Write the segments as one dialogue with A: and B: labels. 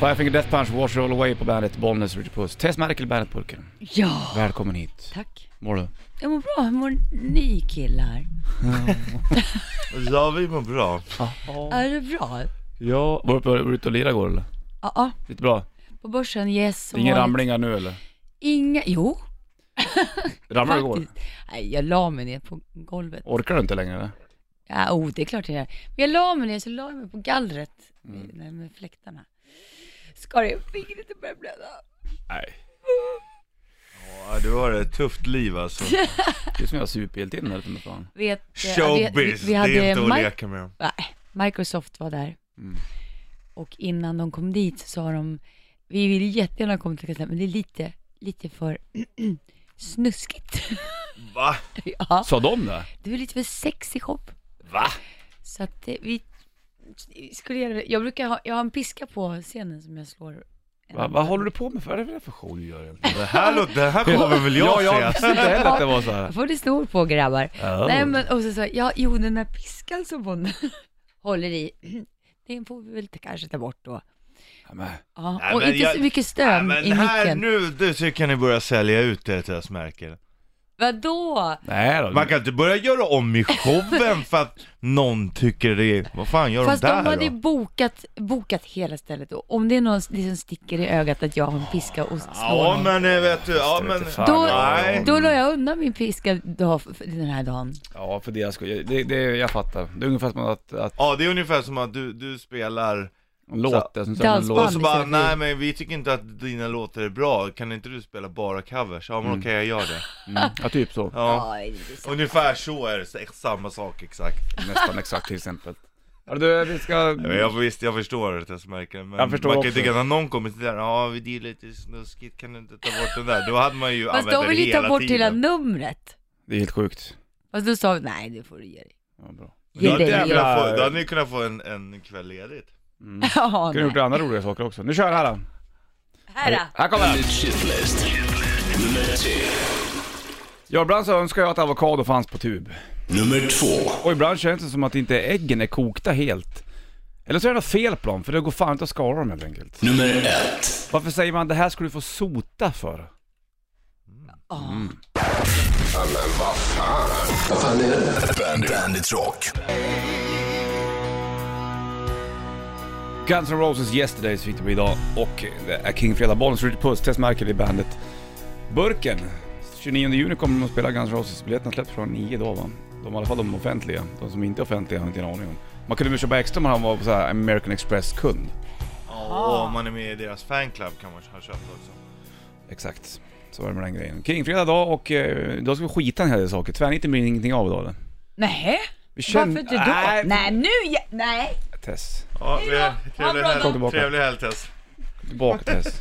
A: Five Finger Death Punch, Wash It All Away på bandet, Bollnäs, Richard Puss. Tess Merkel, Bandet-burken.
B: Ja,
A: Välkommen hit.
B: tack.
A: Mår du?
B: Jag mår bra, hur mår ni killar?
C: Ja, vi mår bra.
B: Är det bra?
A: Ja. Var du uppe- var du ute och lirade igår eller?
B: Ja, ja.
A: Lite bra?
B: på börsen, yes. som
A: Inga
B: vanligt.
A: ramlingar nu eller?
B: Inga, jo.
A: Ramlade du igår?
B: faktiskt. Nej, jag la mig ner på golvet.
A: Orkar du inte längre eller?
B: Ja, oh, det är klart jag gör. Men jag la mig ner, så la jag mig på gallret
C: Mm.
B: med, med fläktarna. Skar jag fingret och började blöda.
A: Nej.
C: Ja, du har ett tufft liv alltså.
A: Det är som jag har supit in här med fan.
B: Vet, eh,
C: Showbiz, det är inte att
B: Mi-
C: leka med.
B: Nej, Microsoft var där.
A: Mm.
B: Och innan de kom dit så sa de, vi vill jättegärna komma till Kastellet, men det är lite, lite för snuskigt.
C: Va?
B: ja,
A: Sa de det?
B: det är lite för sexig shop.
A: Va?
B: Så att eh, vi vi skulle göra det. Jag brukar ha, jag har en piska på scenen som jag slår.
A: Va vad håller du på med? Vad är det för show du gör egentligen?
C: Det här, låter- det här kommer väl jag
A: ja,
C: se?
A: jag visste inte heller att det var så
B: Vad
A: här.
B: får det stå på grabbar?
A: Ja.
B: Nej
C: Oh.
B: men, och så sa jag, ja, jo den här piskan som hon håller i, den får vi väl ta- kanske ta bort då.
A: Ja, men,
B: Ja,
C: Nej,
B: och
C: men
B: inte
C: jag-
B: så mycket
C: Nej,
B: stön
C: men
B: i
C: här
B: micken.
C: nu, du tycker ni börja sälja ut det Tess Merkel.
B: Vadå?
A: Nej då.
C: Man kan inte börja göra om i showen för att någon tycker det är... Vad fan gör
B: Fast
C: de
B: de
C: där
B: hade ju
C: då?
B: bokat, bokat hela stället och om det är någon som liksom sticker i ögat att jag har en piska och slår
C: Ja
B: någon,
C: men eh, vet du, ja
A: Jag vet
C: men...
A: inte fan.
B: då,
C: Nej.
B: då la jag undan min piska dag, för- för den här dagen.
A: Ja, för deras skull. Det, det, jag fattar. Det är ungefär som att, att
C: Ja det är ungefär som att du, du spelar
A: låten som
B: Dansband.
C: och
A: låt.
C: så
B: Fan,
C: bara
B: istället för-
C: nej men vi tycker inte att dina låtar är bra, kan inte du spela bara covers? Ja men okej jag gör det.
A: Mm. Ja, typ så.
C: Ja.
B: Oj, det är så-
C: Ungefär så är det, så- samma sak exakt.
A: Nästan exakt till exempel. Ja, du, vi ska...
C: Ja, Jag, visst, jag förstår det Tess Merkel, men
A: Jag förstår
C: man kan ju
A: också.
C: tycka när någon kommer till där, ja vi det är lite snuskigt, kan du inte ta bort den där? Då hade man ju
B: Fast
C: använt
B: de
C: den
B: vill ju ta
C: hela
B: bort hela
C: tiden.
B: numret.
A: Det är helt sjukt.
B: Fast då sa vi, nej det får du ge dig.
A: Ja, bra.
C: Då
B: Ge
C: hade,
B: dig.
C: ni
A: jävla-
C: kunnat få, då hade ni kunnat få en, en kväll ledigt.
B: Ja,
A: Kunde gjort
B: nej.
A: andra roliga saker också. Nu kör jag här då.
B: Här då.
A: Här kommer den.
D: Shitlist. Nummer tre.
A: Ja, ibland så önskar jag att avokado fanns på tub.
D: Nummer två.
A: Och ibland känns det som att inte äggen är kokta helt. Eller så är det något fel på dem, för det går fan inte att skala dem helt enkelt.
D: Nummer ett.
A: Varför säger man det här skulle du få sota för?
D: Bandit. Bandit Rock.
A: Guns N' Roses Yesterday så fick det bli idag och det är King Fredag Bollnäs, Ritchie Puss, Tess Merkel i bandet. Burken, 29 juni kommer de att spela Guns N' Roses, biljetterna släpps från 9 då va? De, I alla fall de offentliga, de som inte är offentliga har jag inte en aning om. Man kunde väl köpa extra om man var på så här American Express-kund.
C: Ja, om man är med i deras fanclub kan man ha köpt också.
A: Exakt, så var det med den grejen. Kingfredag idag och eh, då ska vi skita i en hel del saker. Tvärniten blir ingenting av idag eller?
B: Nej,
A: Vi
B: varför inte då?
A: Nej,
B: Nej, nu, jä- nej.
A: Tess.
C: Ja, vi,
B: Ha en
C: trevlig,
B: bra
A: Kom
B: dag.
C: helg,
A: tillbaka.
C: trevlig helg Tess.
A: Tillbaka Tess.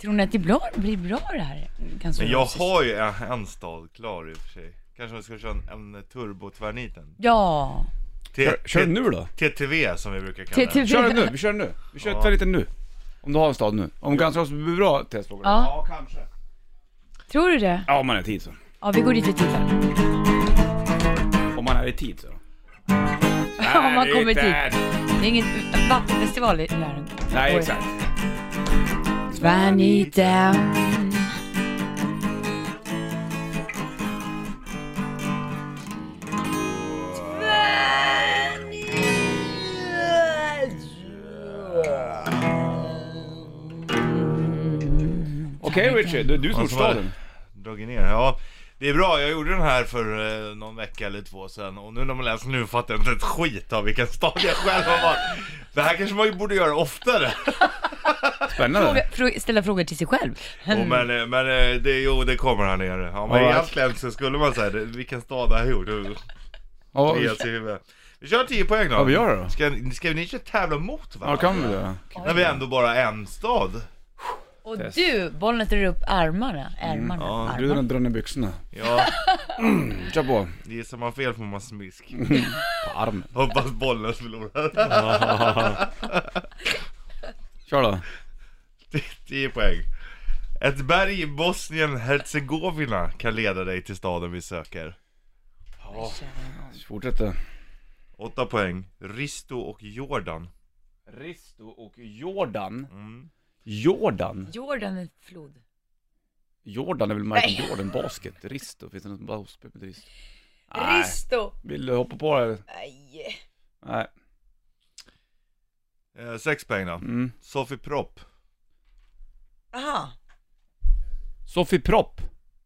B: Tror ni att det blir blir bra det här? Guns N'
C: Men jag
B: Roses?
C: har ju en, en stad klar i och för sig. Kanske man ska köra en, en turbo tvärniten.
B: Ja.
C: T-
A: Kör, kör den nu då.
C: TTV som vi brukar kalla den.
B: TTV.
A: Kör den nu, vi kör den nu. Vi kör
C: Ja.
A: tvärniten nu. Om du har en stad nu. Om Guns N' Roses blir bra Tess frågar du.
B: Ja,
C: Ja, kanske.
B: tror du det?
A: Ja, om man är i tid så.
B: Ja, vi går dit och tittar.
A: Om man är i tid så.
B: Om man kommer dit. Det är ingen vattenfestival i Lärum.
A: Nej, exakt.
B: Vanita.
A: Okej Richie, du, du snor
C: Vad som var det?
A: staden.
C: Dragit ner. Ja, det är bra. Jag gjorde den här för eh, någon vecka eller två sedan och nu när man läser nu fattar jag inte ett skit av vilken stad jag själv har varit. Det här kanske man ju borde göra oftare.
A: Spännande.
B: Frå- ställa frågor till sig själv.
C: Jo, men eh, men eh, det, jo, det kommer här nere. Ja, men
A: Mm. Ja.
C: egentligen så skulle man säga det, vilken stad det här gjorde.
A: Ja, vi-
C: Helt i huvudet. Vi kör 10 poäng då.
A: Ja, vi gör det då.
C: Ska, ska ni inte tävla mot
A: ja,
C: varandra?
A: kan vi det?
C: När vi ändå bara är en stad.
B: Och du, Bollnäs drar upp armarna. Ärmarna.
C: ja,
A: Du
B: armarna.
A: drar ner byxorna.
C: Ja,
A: Kör på.
C: gissar man fel får man smisk.
A: På armen.
C: Hoppas bollen förlorar.
A: Kör då.
C: 10 poäng. Ett berg i bosnien herzegovina kan leda dig till staden vi söker.
A: Fortsätt då.
C: 8 poäng. Risto och Jordan.
A: Risto och Jordan.
C: Mm.
A: Jordan?
B: Jordan är en flod.
A: Jordan är väl Michael Jordan Basket? Risto, finns det något basket med Risto? Nej.
B: Risto!
A: Vill du hoppa på det? eller?
B: Nej.
A: Nej.
C: Eh, sex poäng då.
A: Mm.
C: Sofie Propp. Mm.
B: Aha.
A: Sofie Propp.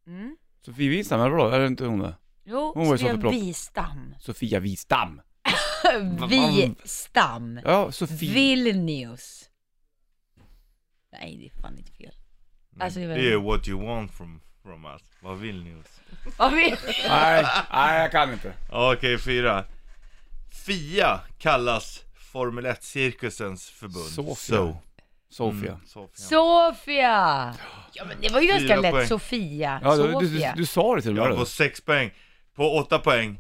B: Mm.
A: Sofie Wistam, eller vadå? Är det inte hon det?
B: Jo,
A: Hon var ju
B: Sten
A: Sofie Propp.
B: Wistam.
A: Sofia Wistam.
B: Wistam.
A: Ja, Sofie.
B: Vilnius. Nej, det är fan inte fel. Alltså, jag
C: Det
B: vet
C: är ju what you want from, from us. Vad vill ni oss?
B: Vad vill
A: nej, nej jag kan inte.
C: Ja, Okej, fyra. Fia kallas Formel 1-cirkusens förbund.
A: Sofia.
C: So.
A: Sofia.
C: Mm, Sofia.
B: Sofia! Ja men det var ju ganska
C: Fyra
B: lätt,
C: poäng.
B: Sofia.
A: Ja, du,
B: Sofia.
A: du, du, du sa det till mig.
C: Jag
A: eller?
C: på sex poäng. På åtta poäng.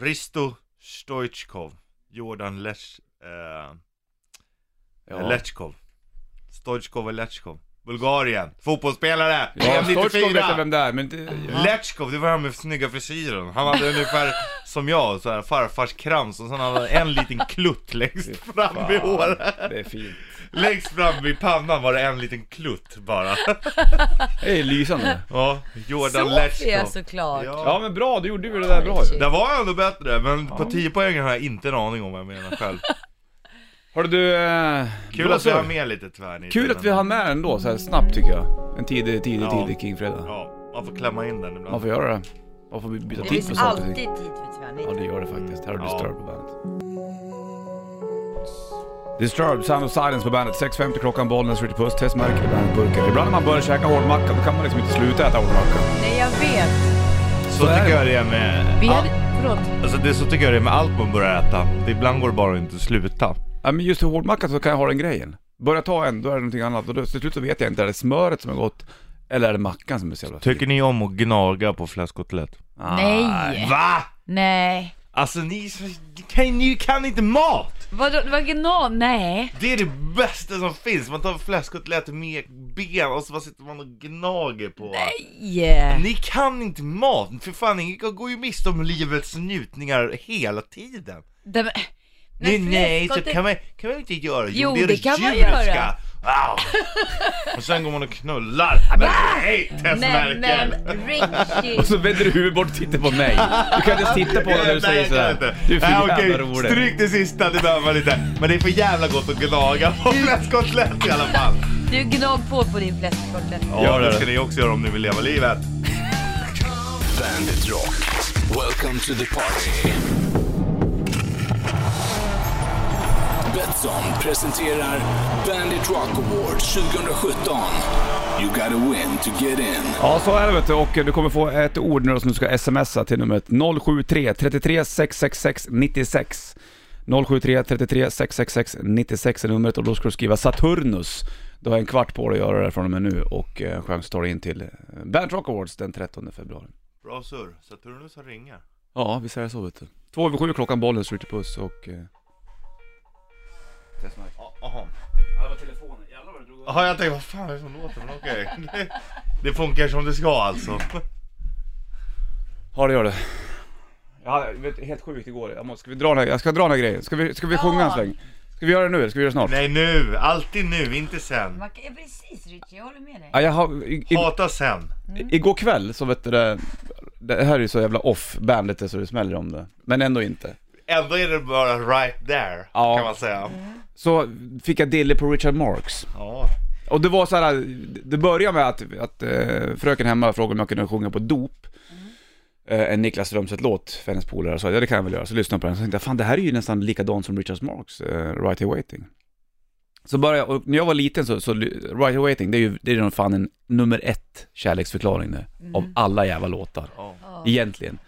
C: Risto Stoichkov. Jordan Lech... Eh,
A: Ja.
C: Lechkov. Stoichkov och Lechkov. Bulgarien. Fotbollsspelare!
A: Ja,
C: EM
A: Storchkov
C: 94.
A: vet jag vem det är, men det,
C: Mm. Letchkov, det var han med snygga frisyren. Han hade ungefär som jag, så här farfars krans och sen hade han en liten klutt längst fram i håret.
A: Fan, det är fint.
C: Längst fram vid pannan var det en liten klutt bara.
A: Det är lysande.
C: Ja, Jordan
B: Sofia
C: Letchkov.
B: såklart.
A: Ja men bra, du gjorde ju det där bra ju.
C: Där var jag ändå bättre, men på 10 poäng har jag inte en aning om vad jag menar själv.
A: Hörru du, eh,
C: Kul
A: bra
C: att vi har
A: surr.
C: med lite tvärnit.
A: Kul att vi har med den då så här snabbt tycker jag. En tidig, tidig,
C: Ja.
A: tidig Kingfredag.
C: Ja, man får klämma in den
A: Man
C: ibland.
A: får göra det. Man får byta
B: Det
A: tid på
B: finns
A: saker och
B: alltid
A: ting.
B: tid för tvärnit.
A: Ja det gör det faktiskt. Här har du
C: Mm. Ja.
A: Disturbed på bandet. Disturbed, Sound of Silence på bandet. 6.50 klockan, Bollnäs, Ritchie Puss, Tess Merkel i bandetburken. Ibland när man börjar käka hårdmacka då kan man liksom inte sluta äta hårdmacka.
B: Nej jag vet.
C: Så tycker jag det är med...
B: Vi
C: Ja,
B: hade, förlåt.
C: Alltså det är så tycker jag det är med allt man börjar äta. Det ibland går det bara att inte sluta.
A: Ja men just hårdmacka så kan jag ha den grejen. Börjar ta en, då är det någonting annat. Och då, till slut så vet jag inte, är det smöret som är gott? Eller är det mackan som är så jävla Ah.
C: Tycker ni om att gnaga på fläskkotlett?
B: Nej.
C: Va?
B: Nej.
C: Alltså ni, så- kan, ni kan inte mat!
B: Vadå, det var gnan? Nej.
C: Det är det bästa som finns, man tar fläskkotlett med ben och så bara sitter man och gnager på.
B: Yeah.
C: Ni kan inte mat, för fan ni går ju miste om livets njutningar hela tiden.
B: Det, men,
C: Nej, nej, så
B: fläskkotlett-
C: kan man, kan man inte göra.
B: Jo, det kan man
C: djuret
B: göra.
C: Wow. Och sen går man och knullar. Men nej, Tess
B: Nej
C: Merkel!
B: men Richie.
A: Och så vänder du huvudet bort och tittar på mig. Du kan inte ens titta på mig när du säger sådär. Du är för
C: Nej,
A: jävla
C: okej,
A: rolig.
C: Stryk det sista, det behöver man inte. Men det är för jävla gott att gnaga på fläskkotlett i alla fall.
B: Du gnag på på din fläskkotlett.
A: Ja,
C: Ja,
A: det är
C: det
A: det.
C: ska ni också göra om ni vill leva livet.
D: Bandit Rock. Welcome to the party. Betsson presenterar Bandit Rock Award 2017. You gotta win to get in.
A: Ja, så är det vet du. Och eh, du kommer få ett ord nu då som du ska smsa till numret 073 33 666 96. 073 33 666 96 är numret och då ska du skriva Saturnus. Du har en kvart på dig att göra det från och med nu och eh, chans tar du in till eh, Band Rock Awards den 13 februari.
C: Bra surr. Saturnus har ringar.
A: Ja, vi säger så vet du. Två över sju klockan, bollen skjuter puss och... Eh...
C: Jaha.
A: Ja, det var telefonen. Jävlar vad du drog
C: Jaha, jag tänkte vad fan är det som låter? Men okej. Det funkar som det ska alltså.
A: Ja det gör det. Ja, det var helt sjukt igår. Jag, måste, ska vi dra den här, jag ska dra den här grejen. Ska vi, ska vi sjunga en sväng? Ska vi göra det nu eller ska vi göra det snart?
C: Nej nu, alltid nu, inte sen.
B: Man kan, ja, precis Richie, jag håller med dig.
A: Ja, jag har, i, i,
C: Hata sen.
A: Mm. igår kväll så vet du det, det här är ju så jävla off bandet är så det smäller om det. Men ändå inte.
C: Ändå är det bara right there,
A: Ja.
C: kan man säga.
A: Så fick jag dille på Richard Marx.
C: Ja.
A: Och det var så här, det började med att, att eh, fröken hemma frågade om jag kunde sjunga på dop. Eh, en Niklas Strömstedt-låt för hennes polare. Så jag sa, ja det kan jag väl göra. Så lyssnade jag på den. Så tänkte jag, fan det här är ju nästan likadant som Richard Marx, eh, Right Here Waiting. Så började jag, och när jag var liten så, så ly- Right Here Waiting, det är ju, det är ju fan en nummer ett kärleksförklaring det, av alla jävla låtar
C: Ja.
A: egentligen.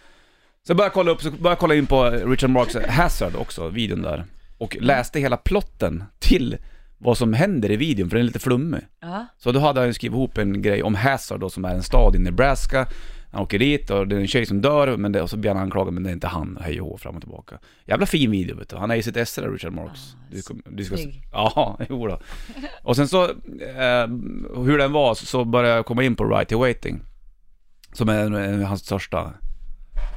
A: Så jag började kolla upp, så började jag kolla in på Richard Marks Hazard också, videon där. Och läste hela plotten till vad som händer i videon, för den är lite flummig.
B: Ja.
A: Så då hade han ju skrivit ihop en grej om Hazard då, som är en stad i Nebraska. Han åker dit och det är en tjej som dör, men det, och så blir han anklagad, men det är inte han, hej och hå, fram och tillbaka. Jävla fin video vet du, han är i sitt esse där Richard Marks. Du, kom- du ska,
B: snygg.
A: ja, jo då. Och sen så, eh, hur den var, så- så började jag komma in på Right to Waiting. Som är en, en, hans största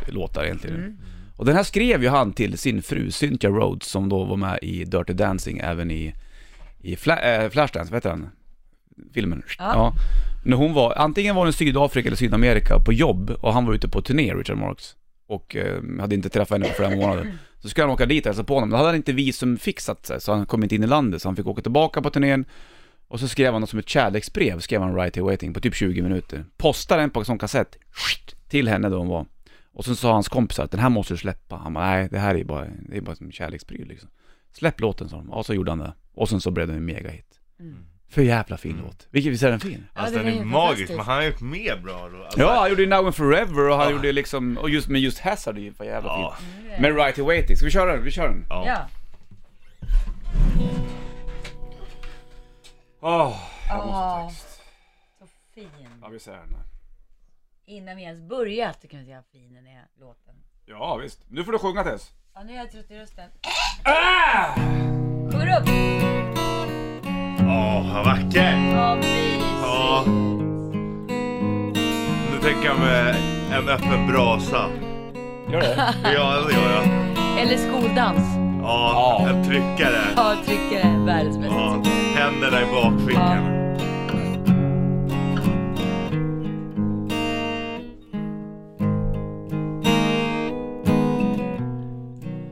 A: låtar egentligen. Och den här skrev ju han till sin fru Cynthia Rhodes som då var med i Dirty Dancing även i, i Fla, eh, Flashdance, vad heter den? Filmen.
B: Ja.
A: När hon var, antingen var hon i Sydafrika eller Sydamerika på jobb och han var ute på turné, Richard Marx. Och eh, hade inte träffat henne på flera månader. Så skulle han åka dit och hälsa på honom, men då hade han inte visum fixat sig så han kom inte in i landet så han fick åka tillbaka på turnén. Och så skrev han något som ett kärleksbrev, skrev han Right Here Waiting på typ 20 minuter. Postade den på en sån kassett, skit, till henne då hon var. Och sen sa hans kompisar att den här måste du släppa. Han bara, nej det här är ju bara, det är bara som kärlekspryl liksom. Släpp låten sa de. Och så gjorde han det. Och sen så blev den en megahit. För jävla fin låt. Vilken, visst är den fin?
B: Ja,
C: Alltså
B: det
C: den
B: var
C: är
B: ju
C: magisk,
B: fantastiskt.
C: men han har gjort mer bra då. Alltså,
A: Ja, han gjorde ju Now and Forever och han gjorde liksom, och just med just Hazard är ju för jävla
C: ja.
A: fint. Men Right Here Waiting, ska vi köra den? Vi kör den.
C: ja.
B: Ja.
A: Åh,
B: Åh, så fin.
A: ja vi ser den här.
B: Innan vi ens börjat så kan vi säga hur fin den är, låten.
A: Ja visst. Nu får du sjunga Tess.
B: Ja, nu är jag trött i rösten.
C: Ah!
B: Går upp!
C: Åh, vad vacker!
B: Ja, mysigt.
C: Ja. Nu tänker jag med en öppen brasa.
A: Gör det?
C: Ja, det gör jag.
B: Eller skoldans.
C: Ja,
A: Ja.
C: en tryckare.
B: Ja, trycker är världens bästa.
C: Ja, händerna i bakfickan.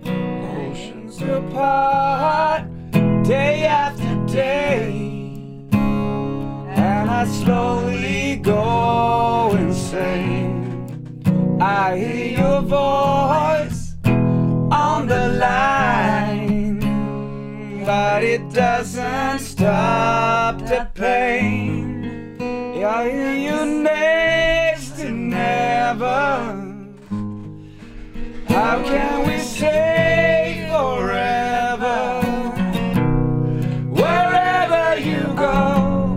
A: Oceans apart, day after day. And I slowly go insane. I hear your voice on the line, but it doesn't stop the pain. I hear you next to never. How can we say forever? Wherever you go,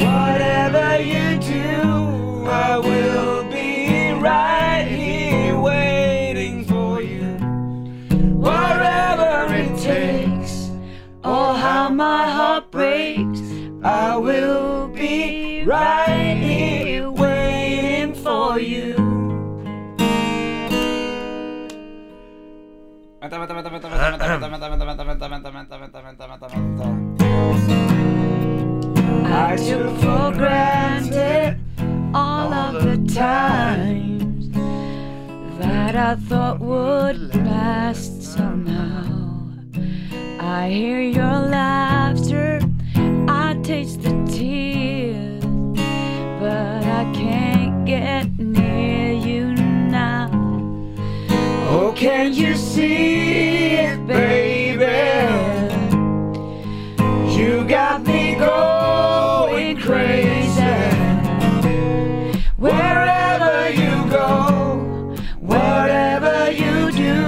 A: whatever you do, I will be right here waiting for you. Wherever it takes,
B: Oh, how my heart breaks.
A: I will be right here waiting for you. Vänta, vänta, vänta, vänta, vänta, vänta, vänta, vänta, vänta, vänta, vänta, vänta, vänta, vänta, vänta, vänta.
B: I took for granted all of the times that I thought would last somehow. I hear your laughter, I taste the tears, but I can't get near you now.
A: Oh, can you see it, baby? You got me going crazy. Wherever you go, whatever you do,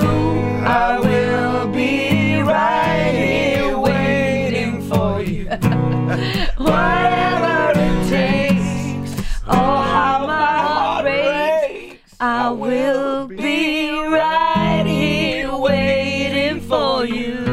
A: I will be right here waiting for you. Whatever it takes,
B: Oh, how my heart
A: heart
B: breaks.
A: breaks,
B: I will be right here waiting for you.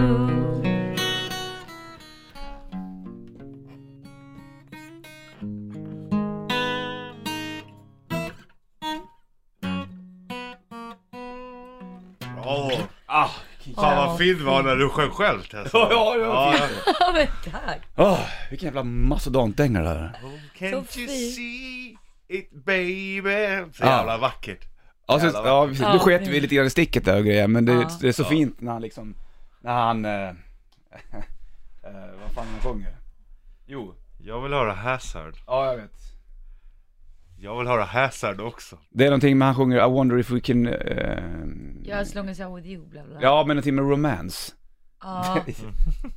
C: Åh,
A: Ah,
C: fan vad fin var när du sjöng själv Tess.
A: Ja, ja, det var
C: ja.
B: Ja, men tack.
A: oh, vilken jävla mastodontdänga det där
C: Oh, Can't you
B: fin.
C: see it baby? Så
A: Ja.
C: jävla vackert.
A: Ja, så,
C: Jävlar.
A: ja precis.
B: Ja,
A: Nu sket
B: det-
A: vi lite grann i sticket där och grejer, men det,
B: Ja.
A: det är så fint när han liksom, när han, eh, eh, vad fan han sjunger? Jo,
C: Jag vill höra Hazard.
A: ja jag vet.
C: Jag vill höra Hazard också.
A: Det är någonting med han sjunger I wonder if we can, eh,
B: Jag har slungit sig with you, bla bla.
A: ja men någonting med romance.
B: Ja,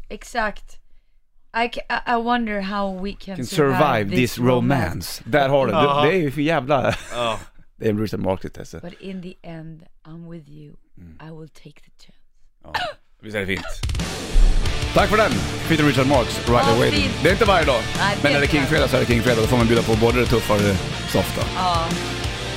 B: exakt. I, ca- I I wonder how we can,
A: Can survive this romance. Där har du,
C: Jaha.
A: det, det är ju för jävla,
C: Ja.
A: det är en Richard Marquis alltså.
B: But in the end, I'm with you.
A: Mm.
B: I will take the chance.
A: Ja. Visst är det fint? Tack för den! Peter Richard Marx, Right
B: Ja,
A: Away.
B: fint.
A: Det är inte varje dag,
B: Nej, det
A: men när det
B: är
A: är
B: inte varje
A: King-fredag så är det King-fredag. Då får man bjuda på både det tuffa och det softa.
B: Ja,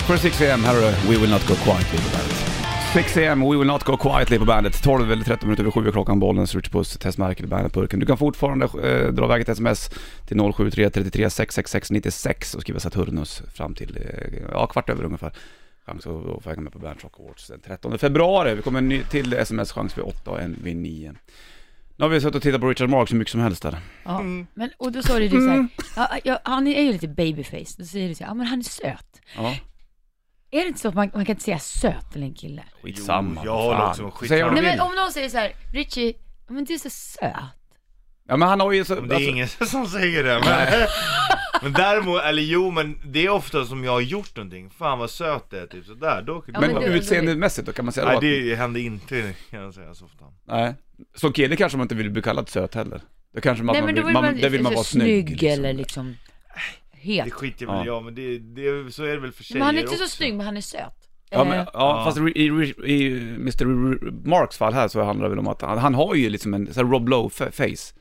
A: För 6 am, här är det We Will Not Go Quietly på bandet. 6 am, We Will Not Go Quietly på bandet. 12 eller 13 minuter över 7 är klockan, Bollnäs, Rich Puss, Tess Merkel, Bandet-burken. Du kan fortfarande eh, dra iväg ett sms till 073 33 666 96 och skriva Saturnus fram till eh, ja, kvart över ungefär. chans att att få hänga med på Bandrock Awards den 13 februari. Vi kommer en ny till sms-chans vid 8 och en vid 9. Nu har vi suttit och tittat på Richard Marx hur mycket som helst där.
B: Ja.
A: Mm.
B: Men, och då sa du ju såhär, ja, ja, han är ju lite babyface, då säger du såhär, ja men han är söt.
A: Ja,
B: Är det inte så att man, man kan inte säga söt till en kille?
A: skitsamma.
C: Jo, jag håller
A: fan.
C: också med, skitsamma.
A: Säg vad du
B: Nej
A: vill.
B: men om någon säger såhär, Richie, ja, men du är så söt.
A: Ja men han har ju så...
C: Men det är
A: alltså-
C: ingen som säger det. Men, men däremot, eller jo men det är ofta som jag har gjort någonting. Fan vad söt det är, typ sådär. Då,
B: Ja,
A: Men
B: men du-
A: utseendemässigt då kan man säga
C: Nej
A: då att...
C: det händer inte kan jag säga så ofta.
A: Nej. Som kille kanske man inte vill bli kallad söt heller. Då kanske man,
B: Nej men då vill
A: man,
B: man,
A: där vill man
B: så
A: vara snygg.
B: eller liksom
C: Det
B: het.
C: skiter
A: Ja.
C: väl jag men det, det, så är det väl för tjejer
B: Men han är inte
C: också.
B: så snygg men han är söt.
A: Ja, men,
B: Eh,
A: ja, fast i, i, i Mr. Marks fall här så handlar det väl om att han, han har ju liksom en sån här Rob Lowe-face.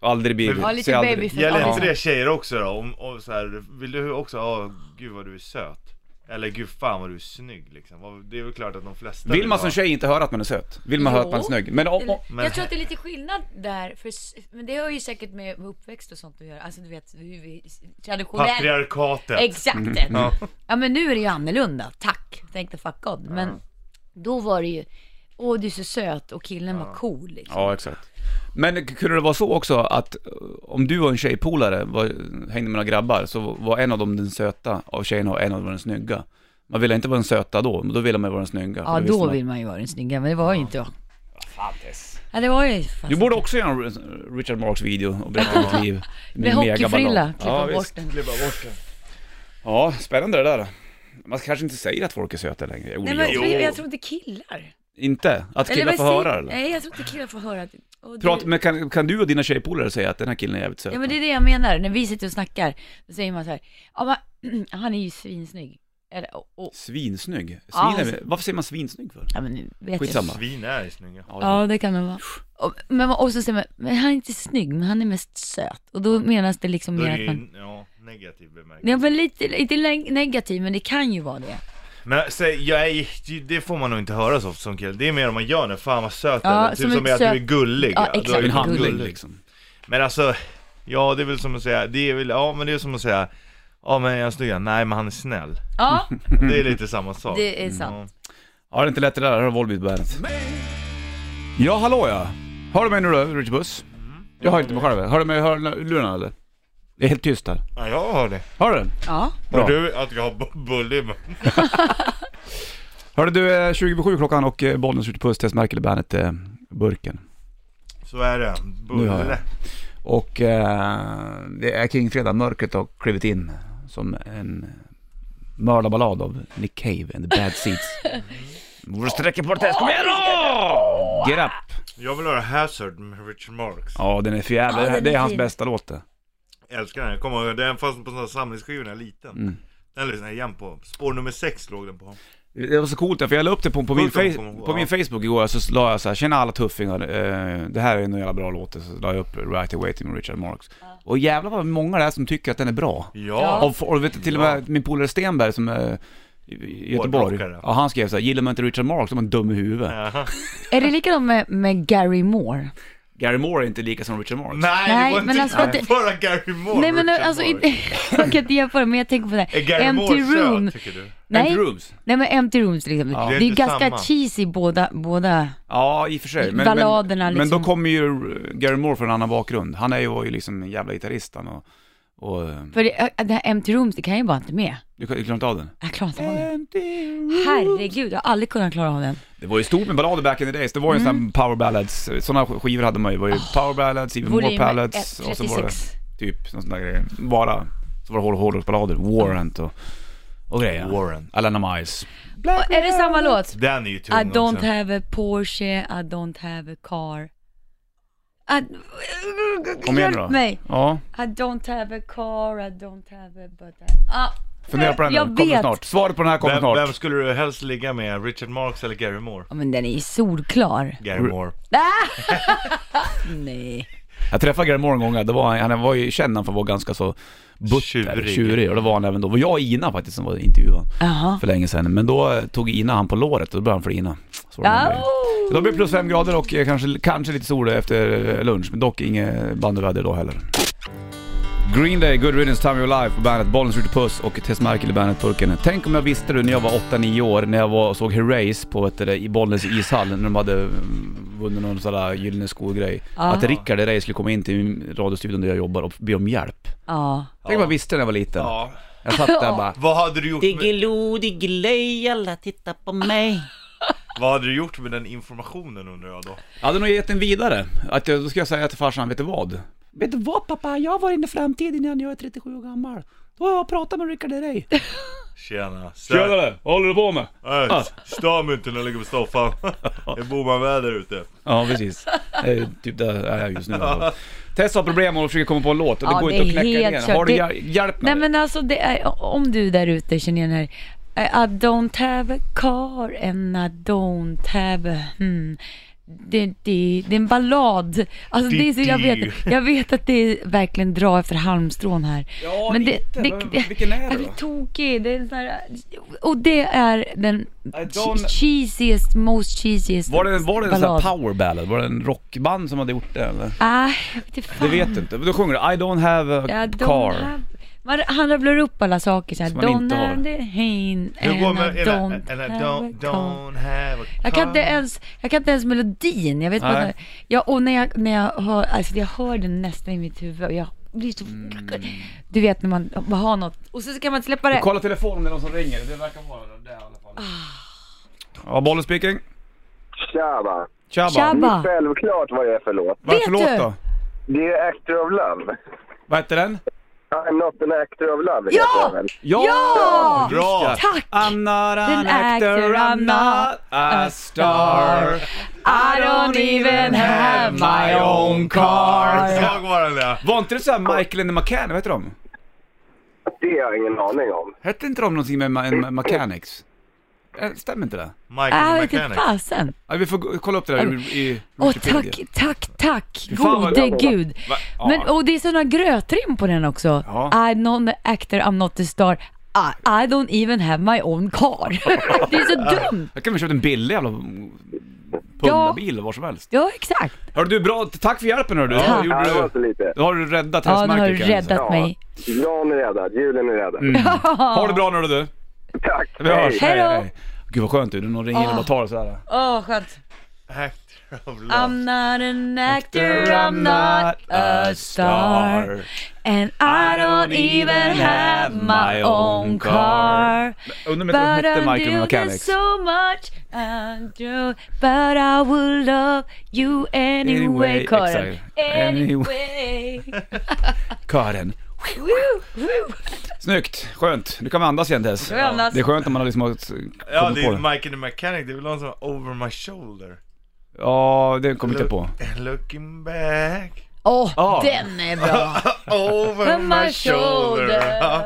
A: Aldrig blir...
B: Ja, Mm. lite
A: ser aldrig-
B: babyface.
C: Gäller
B: Ja.
C: inte det tjejer också då? Om, om så här, vill du också, ja gud vad du är söt. Eller gud fan vad du är snygg liksom. Vad- Det är väl klart att de flesta
A: Vill man
C: ha-
A: som tjej inte höra att man är söt? Vill man höra att man är
B: Jo.
A: snygg? Men om, om,
B: Eller-
C: men-
B: Jag tror att det är lite skillnad där, för, s- men det har ju säkert med uppväxt och sånt att göra. Alltså du vet, hur vi traditionellt...
C: Patriarkatet.
B: Exakt!
A: Mm.
B: Ja. men nu är det ju annorlunda, tack. Thank the fuck God. Men då var det ju, åh du är så söt och killen var cool liksom.
A: Ja, exakt. Men k- kunde det vara så också att eh, om du och en tjejpolare var, hängde med några grabbar så var en av dem den söta av tjejerna och en av dem den snygga. Man ville inte vara den söta då, men då ville man vara den snygga.
B: Ja,
A: för visste
B: då
A: man-
B: vill man ju vara den snygga, men det var ju inte jag. Ja, det var ju fast...
A: Du borde också göra en Richard Marks video och berätta om ditt liv.
B: Med
A: Min megaballad.
B: hockeyfrilla, klippa
A: ja,
B: bort
A: visst.
B: den.
C: Klippa bort den.
A: Ja, spännande det där. Man kanske inte säger att folk är söta längre. Jo,
B: Nej men jag
A: jo.
B: tror, jag tror inte killar.
A: Inte? Att killar
B: vad
A: får
B: säger-
A: höra eller?
B: Nej jag tror inte killar får höra. att- åh, du-
A: Prat, men kan, kan du och dina tjejpolare säga att den här killen är jävligt söt?
B: Ja men det är det jag menar, när vi sitter och snackar, då säger man så här, ja, men, han är ju svinsnygg. Eller, och, och,
A: Svinsnygg? Svin
B: Ja, han-
A: är, varför säger man svinsnygg för?
B: ja men nu vet
A: Skitsamma.
C: Svin är snygga.
B: jag. Ja det kan det vara. Och, men, och så säger man, men han är inte snygg, men han är mest söt. Och då menas det liksom
C: Då är
B: mer
C: det
B: att man,
C: ju, ja, negativ bemärkelse.
B: ja men lite, lite neg- negativ, men det kan ju vara det.
C: Men säg, jag är, det får man nog inte höra så ofta som kille. Det är mer om man gör det, fan vad söt
B: Ja,
C: ja, Typ
B: som
C: som,
B: ett
C: är att du är
B: söt-
C: gullig.
B: Ja,
C: då är
B: exakt,
C: du
A: En handling
C: gullig.
A: liksom.
C: Men alltså, ja det är väl som att säga, det är väl, ja men det är som att säga, ja men är han snygg? Nej men han är snäll.
B: Ja,
C: Det är lite samma sak.
B: det är sant.
A: Ja, det är inte lätt det där. Här har Volbeat på bandet. Ja, hallå ja. Hör du mig nu då, Richard Buss? Jag hör inte mig själv. Hör du mig i hörlurarna eller? Det är helt tyst här.
C: Ja jag hör det.
A: Hör du?
B: Ja.
A: Bra.
C: Hör du att jag har bu- bulle i munnen?
A: Hörde du, eh, 20.07 klockan och eh, Bollnäs skjuter puss, Tess Merkel i bandet eh, Burken.
C: Så är det.
A: Nu hör jag.
C: Bulle.
A: Och eh, det är King Fredag, mörkret har klivit in som en mördarballad av Nick Cave and the Bad Seeds. Borde sträcka på det Tess, kom igen då! Get up!
C: Jag vill höra Hazard med Richard Marx.
A: Ja den är för jävla,
B: Ja, den är
A: det är hans
B: fin.
A: bästa låt det.
C: Jag älskar den, jag kommer ihåg den fanns på sån här samlingsskiva när jag var liten.
A: Mm.
C: Den lyssnade jag igen på. Spår nummer sex låg den på.
A: Det var så coolt för jag la upp det på, på, min,
C: Coolt att de
A: face,
C: kommer ihåg,
A: på min Facebook igår, så la jag så här, tjena alla tuffingar, eh, det här är en jävla bra låt, så la jag upp Right Away till Richard Marx. Och jävlar vad många det är som tycker att den är bra.
C: Ja.
A: Och, och vet, du, till och med min polare Stenberg som är i- i Göteborg,
C: Hårdrockare.
A: ja, han skrev så här, gillar man inte Richard Marx så är man dum i huvudet.
C: Jaha.
B: Är det likadant med, med Gary Moore?
A: Gary Moore är inte lika som Richard Marx.
C: Nej,
B: Nej,
C: det var
B: men
C: inte
B: alltså att det-
C: bara Gary Moore.
B: Nej men
C: Richard
B: alltså,
C: Marx.
B: inte, jag kan inte jämföra, men jag tänker på det
C: Är
B: här.
C: Gary
B: Empty
C: Moore
B: Room.
C: söt tycker du?
A: Empty
B: Nej,
A: Rooms.
B: Nej men Empty Rooms liksom.
A: Ja.
B: Det
C: Det
B: är
C: är
B: ju
C: inte
B: ganska
C: samma.
B: cheesy båda, båda.
A: Ja, i och för sig. Men,
B: Balladerna
A: men, men
B: liksom.
A: då kommer ju Gary Moore från en annan bakgrund. Han är ju, var ju liksom en jävla gitarrist han och, och eh,
B: För det, äh, det här Empty Rooms, det kan jag ju bara inte med.
A: du klarar inte av den?
B: Jag klarar inte av det. Herregud, jag har aldrig kunnat klara av den.
A: Det var ju stort med ballader back in the days, det var ju
B: Mm.
A: en sån här power ballads, sådana skivor hade man ju, det var ju power ballads, even more
B: Ah. Volym
A: ballads och så var det
B: 1.36.
A: typ sån där grejer. Bara, så var det hård- hårdrocksballader, Warrant och, och grejer.
C: Warrant.
A: Alana Miles.
B: Och är det samma låt?
C: Den är ju tung
B: I don't
C: också.
B: have a Porsche, I don't have a car. I...
A: Kom igen nu då.
B: Hjälp mig!
A: Ja,
B: I don't have a car, I don't have a but I... Ah,
A: fundera på den nu,
B: Jag
A: kommer
B: vet.
A: snart. Svaret på den här kommer
C: Vem, vem
A: snart.
C: skulle du helst ligga med? Richard Marx eller Gary Moore?
B: Ja, men den är ju solklar.
C: Gary
A: Ru-
C: Moore.
B: Nej.
A: Jag träffade Gary Moore en gång, det var, han han var ju känd han för att vara ganska så butter,
C: Tjurig.
A: tjurig. Och det var han även då. Det var jag och Ina faktiskt som var intervjuad
B: Jaha.
A: för länge sedan. Men då eh, tog Ina han på låret och då började han flina. Så var det
B: Ah,
A: med det. Så Då blir det plus fem grader och eh, kanske, kanske lite sol efter eh, lunch, men dock inget bandyväder idag heller. Green Day, Good Riddance, Time of Your Life på bandet, Bollens Ute Puss och Tess Merkel i bandet Burken. Tänk om jag visste det när jag var 8-9 år, när jag var, såg Herreys på ett, i Bollens ishall, när de hade mm, vunnit någon sån där gyllene skolgrej.
B: Ah.
A: Att Rickard Herreys skulle komma in till radiostudion där jag jobbar och be om hjälp.
B: Ja.
A: Tänk om jag visste när jag var liten.
C: Ja.
A: Jag satt där bara...
C: Vad hade du gjort med,
E: Diggiloo, diggiley, alla tittar på mig.
C: vad hade du gjort med den informationen undrar jag då?
A: Jag hade nog gett den vidare. Att jag, då ska jag säga till farsan, vet du vad? Vet du vad pappa? Jag var inne i framtiden innan jag är 37 år gammal. Då har jag pratat med Rickard Herrey.
C: Tjena.
A: Tjenare, vad håller du på med?
C: Äh, Stör mig inte när jag ligger på soffan. Det är Boman-väder ute.
A: Ja, precis. Det är Typ där jag är just nu. Tessa har problem och försöker komma på en låt och det
B: Ja,
A: går
B: det
A: inte att
B: är
A: knäcka ner
B: helt
A: den.
B: kört.
A: Har du
B: Det-
A: hjäl- hjälp
B: Nej
A: med det?
B: men alltså det är, om du där ute känner igen den här I I don't have a car and I don't have a, hmm. det, det, det är en ballad. Alltså det är så, jag, vet, jag vet att det är verkligen drar efter halmstrån här.
A: Ja, lite. Men vilken är det
B: jag
A: då?
B: blir tokig. Det är en sån här, och det är den
A: don't-
B: cheesiest, most cheesiest
A: Var det, var det en sån här
B: ballad.
A: power ballad? Var det en rockband som hade gjort det eller?
B: Ah, jag vet inte
A: Det
B: fan.
A: vet du inte. Men Då sjunger du I don't have a
B: Ja, don't
A: car.
B: Have, man, han rabblar upp alla saker såhär.
A: Som man inte
B: Don't
A: har.
B: have the hain
C: Hur
B: and
C: går med...
B: I
C: eller-
B: don't
C: eller
B: have a
C: don't,
B: car.
C: don't have a
B: Jag kan, inte
C: car.
B: ens, jag kan inte ens melodin. Jag vet bara,
A: Nej.
B: ja, och när jag, när jag hör, alltså jag hör den nästan i mitt huvud och jag blir så,
A: Mm.
B: du vet när man bara har något och sen så kan man släppa det.
A: Kolla telefonen om det är någon som ringer. Det verkar vara det i alla fall. Ja, bollen speaking.
F: Tjaba!
A: Tjabba.
B: Tjabba!
F: Självklart vad jag är för låt.
A: Vad är det för
B: Vet
A: låt
B: du?
A: då?
F: Det är Actor of Love.
A: Vad heter den?
F: I'm not an actor of love,
B: Ja!
F: heter den väl?
B: Ja!
C: Bra!
B: Tack!
A: I'm not an
B: Den
A: actor,
B: actor,
A: I'm
B: I'm
A: not
B: not
A: a
B: a
A: star
B: I don't even have my own car.
C: Jag var den där.
A: Var inte det såhär Michael and the McCann, vad heter de?
F: Det har jag ingen aning om.
A: Hette inte de någonting med ma- en mechanics? Eh, Stämmer inte det?
C: Michael
B: Äh,
C: the
B: vet inte
C: Mechanic.
B: fasen.
A: Ja, vi får gå- kolla upp det där i, i
B: Åh
A: Wikipedia.
B: tack, tack, tack,
A: fan, vad-
B: gode gud.
A: Va- ja.
B: Men, och det är sådana grötrim på den också.
A: Ja.
B: I'm not an actor, I'm not a star. I, I don't even have my own car. det är så dumt.
A: Jag kan väl köpa en billig jävla pundabil var som helst.
B: Ja, exakt.
A: Hörru du, bra, tack för hjälpen hörru du. Då
B: Tack.
F: Ja, det var
A: Gjorde
F: så
A: du,
F: lite.
A: då har du räddat
B: Ja, nu har du
A: hästmärket kan jag säga.
B: räddat mig.
F: Dagen är räddad, julen är räddad.
A: Ha det bra nu då du.
F: Tack!
A: Vi hörs.
B: Hej då. Ah.
A: Gud vad skönt du, någon ringer in och bara tar det sådär.
B: Åh, skönt.
C: Actor of love.
B: I'm not an actor, I'm not a star. And I don't even have my own car.
A: Undrar om inte
B: But
A: de hette
B: I
A: Michael
B: knew this
A: Mechanics.
B: so much I do, But I would love you
A: Anyway,
B: anyway, Karin
A: exakt.
B: Anyway
A: Kören.
B: Woo, woo.
A: Snyggt, skönt. Nu kan vi andas igen Tess.
B: vi andas.
A: Det är skönt när man har liksom har ett- kommit
C: Ja, det
A: på
C: är
A: det.
C: Michael the Mechanic. Det är väl någon som har over my shoulder.
A: Ja, det kommer inte på.
C: Looking back.
B: Åh,
A: Ja.
B: den är bra!
C: Over
B: my
C: my shoulder.
B: shoulder.
C: Ja.